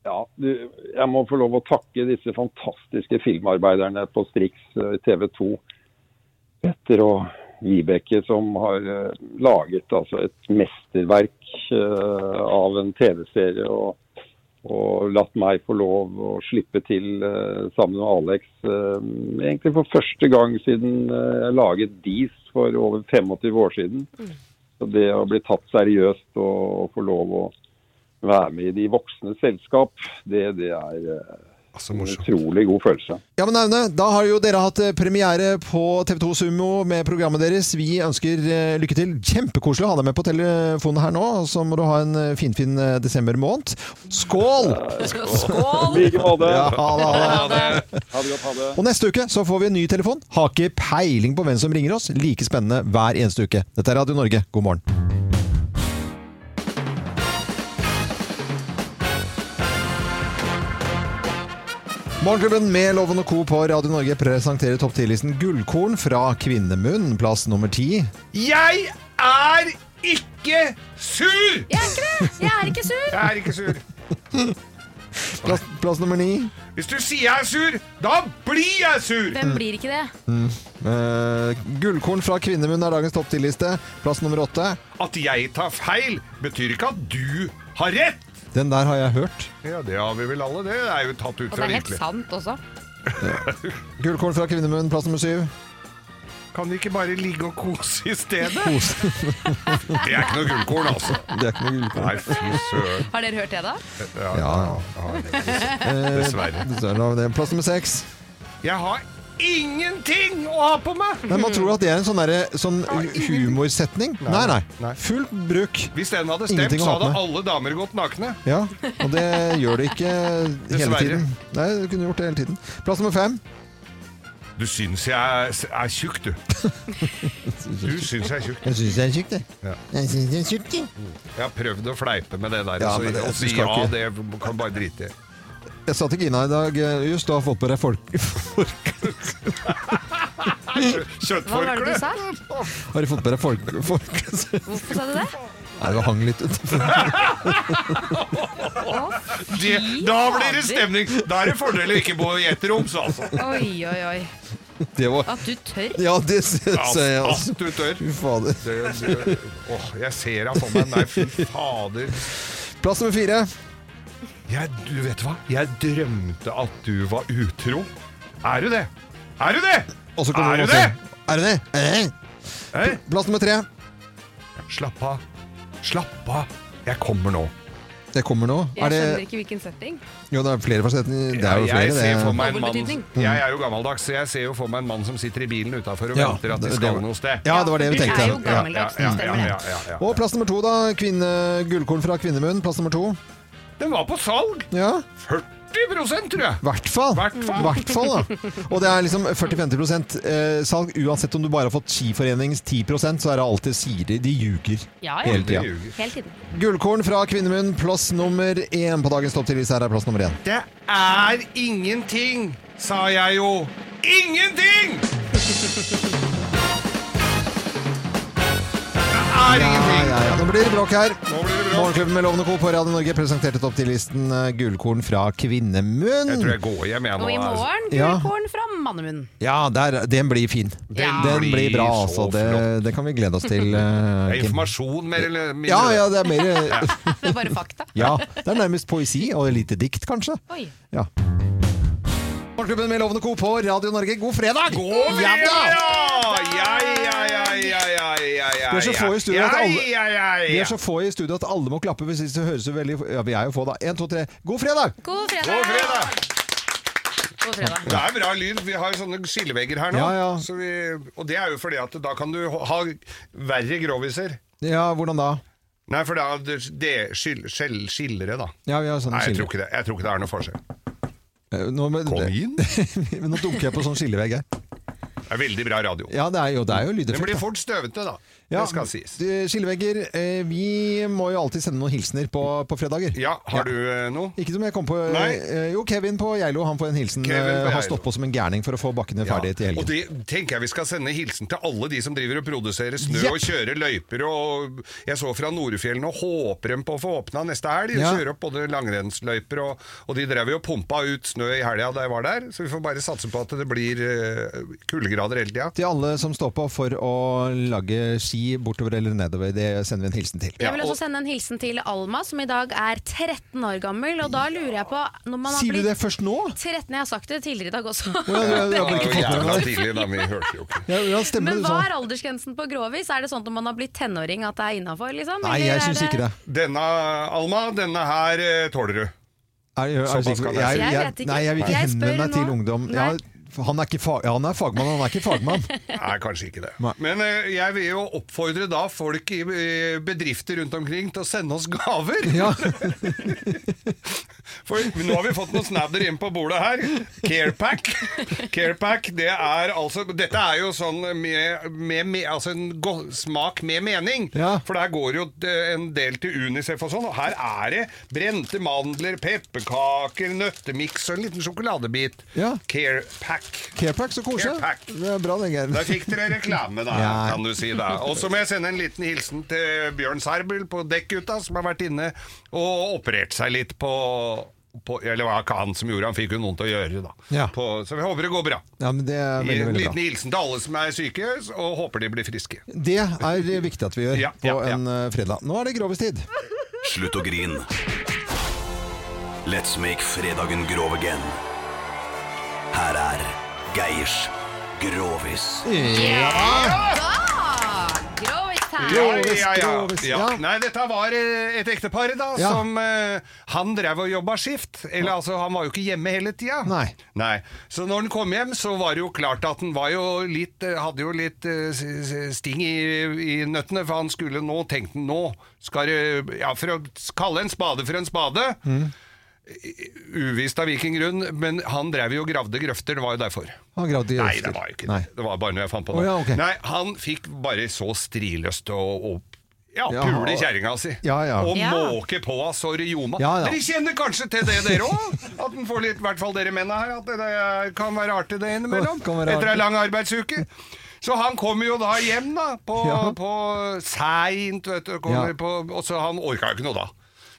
Speaker 8: Ja, du, jeg må få lov å takke disse fantastiske filmarbeiderne på Strix eh, TV 2. Petter og Vibeke som har eh, laget altså, et mesterverk eh, av en TV-serie. Og, og latt meg få lov å slippe til eh, sammen med Alex. eh, egentlig for første gang siden eh, jeg laget Dis for over 25 år siden. Så det å bli tatt seriøst og, og få lov å være med i de voksne selskap, det, det er eh,
Speaker 2: Så
Speaker 8: en
Speaker 2: morsomt.
Speaker 8: utrolig god følelse.
Speaker 1: Ja, men Aune, da har jo dere hatt eh, premiere på TV2 Sumo med programmet deres. Vi ønsker eh, lykke til. Kjempekoselig å ha deg med på telefonen her nå. og Så må du ha en eh, finfin eh, desember måned. Skål!
Speaker 8: I like måte.
Speaker 1: Ja, ha det, ha det.
Speaker 8: Ha det godt. Ha det.
Speaker 1: Og neste uke så får vi en ny telefon. Har ikke peiling på hvem som ringer oss. Like spennende hver eneste uke. Dette er Radio Norge, god morgen. Morgenklubben med Loven og Co. på Radio Norge presenterer topp 10-listen Gullkorn fra kvinnemunn, plass nummer ti.
Speaker 2: Jeg er ikke sur!
Speaker 3: Jeg er ikke det! Jeg er ikke sur!
Speaker 2: Jeg er ikke sur.
Speaker 1: Plass, plass nummer ni.
Speaker 2: Hvis du sier jeg er sur, da blir jeg sur!
Speaker 1: Mm.
Speaker 3: Hvem blir ikke det?
Speaker 1: Eh, gullkorn fra kvinnemunn er dagens topp 10-liste. Plass nummer åtte.
Speaker 2: At jeg tar feil, betyr ikke at du har rett.
Speaker 1: Den der har jeg hørt.
Speaker 2: Ja, det har vi vel alle. Det er jo tatt ut
Speaker 7: Og det
Speaker 2: fra
Speaker 7: er helt
Speaker 2: virkelig.
Speaker 7: sant også.
Speaker 1: Gullkorn fra kvinnemunn, plass nummer syv.
Speaker 2: Kan vi ikke bare ligge og kose i stedet? Det er ikke noe gullkorn, altså.
Speaker 1: Det er ikke noe gullkorn.
Speaker 2: Nei, fy søren.
Speaker 7: Har dere hørt det, da?
Speaker 2: Ja,
Speaker 1: Ja. Eh,
Speaker 2: Dessverre.
Speaker 1: Dessverre, da var det Plass nummer seks.
Speaker 2: Jeg har ingenting å ha på meg!
Speaker 1: Nei, man tror at det er en sånn, derre- sånn humorsetning. Nei, nei.
Speaker 2: Nei.
Speaker 1: Fullt bruk.
Speaker 2: Hvis den hadde
Speaker 1: Ingenting å
Speaker 2: stemt, så
Speaker 1: ha på
Speaker 2: hadde
Speaker 1: meg.
Speaker 2: alle damer gått nakne.
Speaker 1: Ja, og det gjør det ikke hele
Speaker 2: Dessverre.
Speaker 1: tiden. Nei, du kunne gjort det hele tiden. Plass nummer fem.
Speaker 2: Du syns jeg er, er tjukk, du. Du syns jeg er tjukk.
Speaker 1: Jeg syns jeg er tjukk, jeg.
Speaker 2: Ja.
Speaker 1: Jeg syns jeg er tjukk, jeg.
Speaker 2: Jeg har prøvd å fleipe med det der.
Speaker 1: Ja,
Speaker 2: så
Speaker 1: men det-
Speaker 2: å si
Speaker 1: du skal
Speaker 2: ja,
Speaker 1: ikke-
Speaker 2: det kan bare drite i.
Speaker 1: Jeg sa til Gina i dag eh, Just, du har fått på deg folk... folk.
Speaker 7: Hva var det
Speaker 2: Kjøttforkle!
Speaker 7: du sa?
Speaker 1: Har du fått på deg folk... folk? Nei,
Speaker 7: Hvorfor sa du det?
Speaker 1: det hang litt utenfor.
Speaker 2: Det, da blir det stemning! Da er det fordel å ikke bo i ett rom, så altså.
Speaker 7: Oi, oi, oi.
Speaker 1: Det var
Speaker 7: At du tør.
Speaker 1: Ja, det syns jeg,
Speaker 2: At
Speaker 1: altså.
Speaker 2: du tør.
Speaker 1: Fy fader.
Speaker 2: Det, det, åh, jeg ser deg for meg. Nei, fy fader.
Speaker 1: Plass nummer fire.
Speaker 2: Jeg, du vet hva? Jeg drømte at du var utro. Er du det? Er du det?
Speaker 1: Og så kommer det
Speaker 2: er
Speaker 1: noe
Speaker 2: du det?
Speaker 1: til. Er du det? Er du det?
Speaker 2: Hei?
Speaker 1: Plass nummer tre.
Speaker 2: Slapp av. Slapp av. Jeg kommer nå.
Speaker 1: Det kommer nå. Er
Speaker 7: Jeg
Speaker 1: det,
Speaker 7: skjønner ikke hvilken setting.
Speaker 1: jo, det er flere forsetninger. Det er jo
Speaker 2: Ja,
Speaker 1: flere,
Speaker 2: jeg ser for
Speaker 1: det.
Speaker 2: meg en mann,
Speaker 7: Overbetydning.
Speaker 2: jeg er jo gammeldags, så jeg ser jo for meg en mann som sitter i bilen utafor og
Speaker 1: Ja,
Speaker 2: venter at de
Speaker 1: det-
Speaker 2: skal
Speaker 1: det-
Speaker 2: noe sted.
Speaker 1: Ja, det var det
Speaker 7: Det
Speaker 1: vi
Speaker 7: er jo
Speaker 1: tenkte. Ja.
Speaker 7: gammeldags,
Speaker 2: ja,
Speaker 7: det
Speaker 2: ja,
Speaker 7: stemmer
Speaker 2: ja,
Speaker 7: det.
Speaker 2: ja, ja.
Speaker 1: Og plass nummer to, da. Kvinne, gullkorn fra kvinnemunn. Plass nummer to.
Speaker 2: Den var på salg!
Speaker 1: Ja,
Speaker 2: 40
Speaker 1: i
Speaker 2: tror jeg!
Speaker 1: hvert fall.
Speaker 2: Hvertfall.
Speaker 1: Hvertfall, da. Og det er liksom 40-50 eh, salg. Uansett om du bare har fått Skiforeningens 10 så er det alltid sier de. De ljuger
Speaker 3: Ja, ja.
Speaker 1: hele tida.
Speaker 2: ljuger.
Speaker 3: Hele tiden.
Speaker 1: Gullkorn fra kvinnemunn, plass nummer én på dagens topp til Lise. Her er plass nummer én.
Speaker 2: Det er ingenting, sa jeg jo. Ingenting! Det er
Speaker 1: Ja,
Speaker 2: ingenting!
Speaker 1: ja, ja. Nå blir det bråk her.
Speaker 2: Nå blir det bråk.
Speaker 1: Morgenklubben med Lovende Co. på Radio Norge presenterte topptillisten eh, Gullkorn fra kvinnemunn.
Speaker 2: Jeg tror jeg går hjem, jeg nå.
Speaker 3: Og i
Speaker 2: altså.
Speaker 3: morgen
Speaker 1: Ja.
Speaker 3: gullkorn fra mannemunn.
Speaker 1: Ja, der, den blir fin.
Speaker 3: Ja.
Speaker 1: Den blir bra, altså.
Speaker 2: så flott.
Speaker 1: Det, det kan vi glede oss til. eh,
Speaker 2: Det er
Speaker 1: Kim.
Speaker 2: informasjon mer eller mindre.
Speaker 1: Ja, ja, det er mer eh,
Speaker 7: Det er bare fakta.
Speaker 1: Ja, det er nærmest poesi og lite dikt, kanskje.
Speaker 7: Oi.
Speaker 1: Ja. Morgenklubben med Lovende Co. på Radio Norge, god fredag!
Speaker 2: God
Speaker 1: Ja
Speaker 2: fredag!
Speaker 1: da!
Speaker 2: Ja, ja, ja, ja, ja, ja, ja.
Speaker 1: Vi er så få i studio at
Speaker 2: ja,
Speaker 1: alle-
Speaker 2: ja, ja, ja.
Speaker 1: Vi er så få i studio at alle må klappe hvis det høres så veldig Ja, vi er jo få, da. Én, to, tre. God fredag!
Speaker 7: God
Speaker 2: God
Speaker 7: fredag!
Speaker 2: fredag!
Speaker 7: God fredag.
Speaker 2: Det er bra lyd. Vi har sånne skillevegger her nå.
Speaker 1: Ja, ja.
Speaker 2: Så vi, og det er jo fordi at da kan du ha verre groviser.
Speaker 1: Ja, hvordan da?
Speaker 2: Nei, for da det, det skil, skjell, skillere, da.
Speaker 1: Ja, vi har sånne
Speaker 2: Nei, jeg tror
Speaker 1: skiller.
Speaker 2: ikke det, jeg tror ikke det er noe forskjell.
Speaker 1: Eh, Nå, men,
Speaker 2: Kom inn. Det
Speaker 1: men nå dunker jeg på sånn skillevegg her.
Speaker 2: er veldig bra radio.
Speaker 1: Ja, det er jo, det er jo
Speaker 2: Den
Speaker 1: lydeffekt.
Speaker 2: blir
Speaker 1: da.
Speaker 2: fort støvete, da.
Speaker 1: Ja,
Speaker 2: Det skal sies.
Speaker 1: du, Skillevegger, eh, vi må jo alltid sende noen hilsener på, på fredager.
Speaker 2: Ja, har du eh, noe?
Speaker 1: Ikke som jeg kom på
Speaker 2: Nei.
Speaker 1: eh, Jo, Kevin på Geilo han får en hilsen.
Speaker 2: Kevin på
Speaker 1: eh,
Speaker 2: Geilo.
Speaker 1: har stått på som en gærning for å få bakkene
Speaker 2: Ja.
Speaker 1: ferdige til helgen.
Speaker 2: Og det tenker jeg vi skal sende hilsen til alle de som driver og produserer snø
Speaker 1: Jepp.
Speaker 2: og kjører løyper. Og jeg så fra Norefjellene og håper dem på å få åpna neste helg.
Speaker 1: Ja.
Speaker 2: Kjøre opp både langrennsløyper og, og de drev jo og pumpa ut snø i helga da jeg var der. Så vi får bare satse på at det blir eh, kuldegrader hele tida.
Speaker 1: Til alle som står på for å lage ski bortover eller nedover, det sender vi en hilsen til.
Speaker 2: Ja,
Speaker 3: Jeg vil
Speaker 2: og-
Speaker 3: også sende en hilsen til Alma, som i dag er 13 år gammel. Og da lurer jeg på når man har
Speaker 1: Sier du
Speaker 3: blitt
Speaker 1: det først nå?
Speaker 3: 13, jeg har sagt det tidligere i dag også.
Speaker 1: Ja, du, du har
Speaker 2: Det
Speaker 1: vel
Speaker 2: var jo
Speaker 1: ikke fått
Speaker 2: jævla
Speaker 1: med deg det?
Speaker 2: tidlig, da. Vi hørte jo ikke.
Speaker 1: Ja, ja, stemmer
Speaker 3: Men
Speaker 1: det
Speaker 3: hva
Speaker 1: sånn.
Speaker 3: er aldersgrensen på grovis? Er det sånn at når man har blitt tenåring at det er innafor? Liksom?
Speaker 1: Nei, jeg syns ikke det.
Speaker 2: Denne, Alma, denne her eh, tåler du.
Speaker 1: Er, er, er,
Speaker 2: Såpass
Speaker 1: sikker-
Speaker 2: kan jeg
Speaker 1: jeg,
Speaker 2: si.
Speaker 1: jeg,
Speaker 3: Jeg vet ikke.
Speaker 1: Nei, jeg vil ikke
Speaker 3: Jeg spør
Speaker 1: henvende meg
Speaker 3: nå.
Speaker 1: til ungdom. Ja, han, er ikke fa ja, han er fagmann, han er ikke fagmann.
Speaker 2: Nei, kanskje ikke det.
Speaker 1: Nei.
Speaker 2: Men eh, jeg vil jo oppfordre da folk i eh, bedrifter rundt omkring til å sende oss gaver.
Speaker 1: Ja.
Speaker 2: For nå har vi fått noen snadder inn på bordet her. Carepack. Carepack, det er altså Dette er jo sånn med, med, med Altså en go smak med mening.
Speaker 1: Ja.
Speaker 2: For der går jo eh, en del til Unicef og sånn, og her er det brente mandler, pepperkaker, nøttemiks og en liten sjokoladebit.
Speaker 1: Ja.
Speaker 2: Carepack.
Speaker 1: Carepack, så koselig.
Speaker 2: Carepack.
Speaker 1: Det er bra, det, Geir.
Speaker 2: Der fikk dere reklame, da,
Speaker 1: Ja.
Speaker 2: kan du si. da Og så må jeg sende en liten hilsen til Bjørn Serbel på Dekkgutta, som har vært inne og operert seg litt på, på Eller hva ikke han som gjorde, han fikk jo noen til å gjøre, da.
Speaker 1: Ja.
Speaker 2: På, så vi håper det går bra.
Speaker 1: Ja, men det er veldig,
Speaker 2: En
Speaker 1: veldig bra.
Speaker 2: liten hilsen til alle som er syke, og håper de blir friske.
Speaker 1: Det er viktig at vi gjør
Speaker 2: Ja,
Speaker 1: på
Speaker 2: ja, ja.
Speaker 1: en eh, fredag. Nå er det grovestid.
Speaker 5: Slutt å grin. Let's make fredagen grov again. Her er Geirs Grovis.
Speaker 7: Grovis her.
Speaker 2: Ja,
Speaker 1: Grovis,
Speaker 2: ja, ja.
Speaker 1: grovis,
Speaker 2: ja.
Speaker 1: ja.
Speaker 2: Nei, dette var eh, et ektepar da,
Speaker 1: Ja.
Speaker 2: som eh, han drev og jobba skift. Eller altså, han var jo ikke hjemme hele tida.
Speaker 1: Nei.
Speaker 2: Så når han kom hjem, så var det jo klart at han var jo litt, eh, hadde jo litt eh, s- s- sting i, i nøttene, for han skulle nå, tenkte han nå, skal det Ja, for å kalle en spade for en spade.
Speaker 1: Mm.
Speaker 2: Uvisst av hvilken grunn, men han drev jo og gravde grøfter, det var jo derfor.
Speaker 1: Han gravde i
Speaker 2: Nei,
Speaker 1: grøfter.
Speaker 2: det var jo ikke
Speaker 1: Nei.
Speaker 2: det. Det var bare noe jeg fant på.
Speaker 1: Å,
Speaker 2: nå.
Speaker 1: ja, ok.
Speaker 2: Nei, Han fikk bare så striløst å å- ja,
Speaker 1: Ja,
Speaker 2: pule
Speaker 1: og-
Speaker 2: kjerringa si.
Speaker 1: Ja, ja.
Speaker 2: Og
Speaker 7: Ja.
Speaker 2: måke på av sorryoma.
Speaker 1: Ja, ja.
Speaker 2: Dere kjenner kanskje til det, dere òg? At den får litt, i hvert fall dere mennene her, at det kan være artig det innimellom.
Speaker 1: Kan være
Speaker 2: Etter
Speaker 1: artig.
Speaker 2: ei lang arbeidsuke. Så han kommer jo da hjem, da, på,
Speaker 1: Ja.
Speaker 2: på seint, vet du. Kommer
Speaker 1: Ja.
Speaker 2: på, og så han orka jo ikke noe da.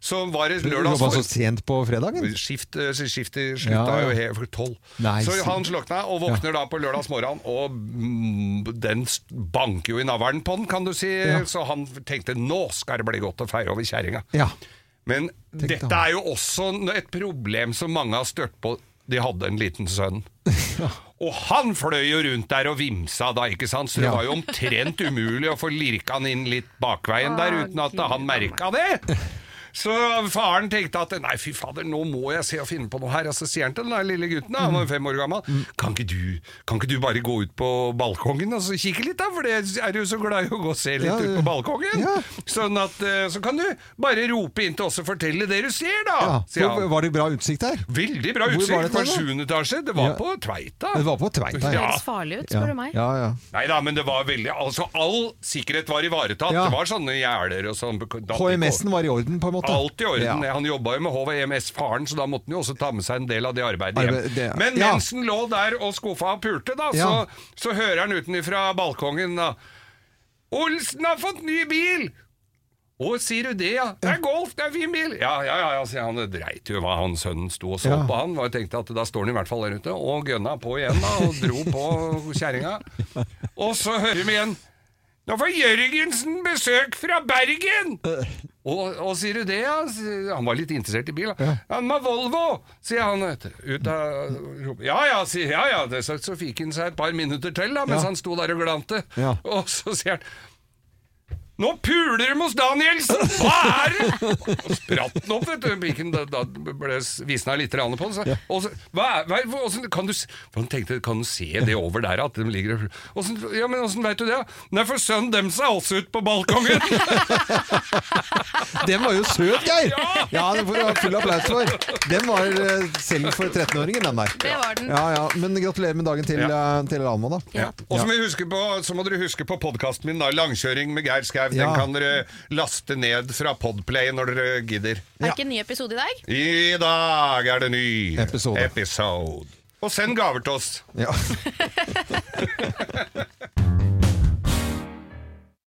Speaker 2: Så var det lørdags
Speaker 1: Jobba så sent på fredagen?
Speaker 2: Skift, eh, skift i slutta
Speaker 1: Ja, ja.
Speaker 2: jo helt for tolv.
Speaker 1: Nei,
Speaker 2: så
Speaker 1: så-
Speaker 2: han slokna og våkner da på lørdags morgen, og mm, den s- banker jo i navlen på den, kan du si.
Speaker 1: Ja.
Speaker 2: Så han tenkte nå skal det bli godt å feire over kjerringa.
Speaker 1: Ja.
Speaker 2: Men
Speaker 1: Tenk
Speaker 2: dette
Speaker 1: deg om.
Speaker 2: er jo også et problem som mange har størt på. De hadde en liten sønn. Og han fløy jo rundt der og vimsa da, ikke sant? Så det
Speaker 1: Ja.
Speaker 2: var jo omtrent umulig å få lirka han inn litt bakveien der uten at han merka det. Så faren tenkte at nei, fy fader, nå må jeg se og finne på noe her. Og så sier han til den der lille gutten, da, han var jo fem år gammel, kan ikke, du, kan ikke du bare gå ut på balkongen og så kikke litt, da? For det er du jo så glad i å gå og se litt
Speaker 1: Ja,
Speaker 2: ut på balkongen.
Speaker 1: ja.
Speaker 2: Sånn at, eh, så kan du bare rope inn til oss og fortelle det du ser, da,
Speaker 1: Ja.
Speaker 2: sier
Speaker 1: Hvor-
Speaker 2: han.
Speaker 1: Var det bra utsikt der?
Speaker 2: Veldig bra
Speaker 1: Hvor var
Speaker 2: utsikt
Speaker 1: det
Speaker 2: fra
Speaker 1: da, da?
Speaker 2: sjuende etasje. Det var
Speaker 1: Ja.
Speaker 2: på Tveita.
Speaker 1: Det var på Tveita,
Speaker 2: ja.
Speaker 7: Høres farlig ut, spør du meg.
Speaker 1: Ja, ja.
Speaker 2: Nei da, men det var veldig Altså, all sikkerhet var ivaretatt.
Speaker 1: Ja.
Speaker 2: Det var sånne gjerder og sånn. datt ikke
Speaker 1: HMS-en var i orden, på en måte?
Speaker 2: Alt i orden.
Speaker 1: Ja.
Speaker 2: Han jobba jo med HVMS-faren, så da måtte han jo også ta med seg en del av det arbeidet hjem.
Speaker 1: Arbeid- det-
Speaker 2: Men
Speaker 1: ja.
Speaker 2: mens han lå der og skuffa og pulte, da,
Speaker 1: Ja.
Speaker 2: så, så hører han utenfra balkongen da Olsen har fått ny bil! Å, sier du det, ja? Det er Golf, det er fin bil! Ja, ja, ja, ja, sier han. Det dreit jo hva han sønnen sto og så
Speaker 1: Ja.
Speaker 2: på han. Og jeg tenkte at da står han i hvert fall der ute, og gønna på igjen, da, og dro på kjerringa. Og så hører vi igjen Nå får Jørgensen besøk fra Bergen! Og, og sier du det, ja? sier- Han var litt interessert i bil. da. Han var Volvo, sier han. vet du. Ut av rom- Ja ja, sier ja ja. Det, så, så fikk han seg et par minutter til da, mens
Speaker 1: Ja.
Speaker 2: han sto der og glante.
Speaker 1: Ja.
Speaker 2: Og så sier han nå puler de hos Danielsen! Hva er det?! Og spratt den opp, vet du. Blikken, da, da ble visna litt rann på den. Så, og så, hva er, hva, er- hvor- åssen- kan du, s- for han tenkte, kan du se det over der at de ligger og Åssen- Ja, men åssen veit du det? da? Nei, for sønnen dems er også ute på balkongen!
Speaker 1: Den var jo søt, Geir!
Speaker 2: Ja!
Speaker 1: Ja, den får du ha full applaus for. Den var eh, selv for 13-åringen, den der.
Speaker 7: Det var den.
Speaker 1: Ja, ja. Men gratulerer med dagen til,
Speaker 2: Ja.
Speaker 1: eh, til Alma, da.
Speaker 2: Ja. Og så må, vi huske på, så må dere huske på podkasten min, da. 'Langkjøring med Geir Skau'. Den
Speaker 1: Ja.
Speaker 2: kan dere laste ned fra Podplay når dere gidder.
Speaker 7: Er det ikke en ny episode i dag?
Speaker 2: I dag er det ny
Speaker 1: Episode.
Speaker 2: episode. Og send gaver til oss.
Speaker 1: Ja.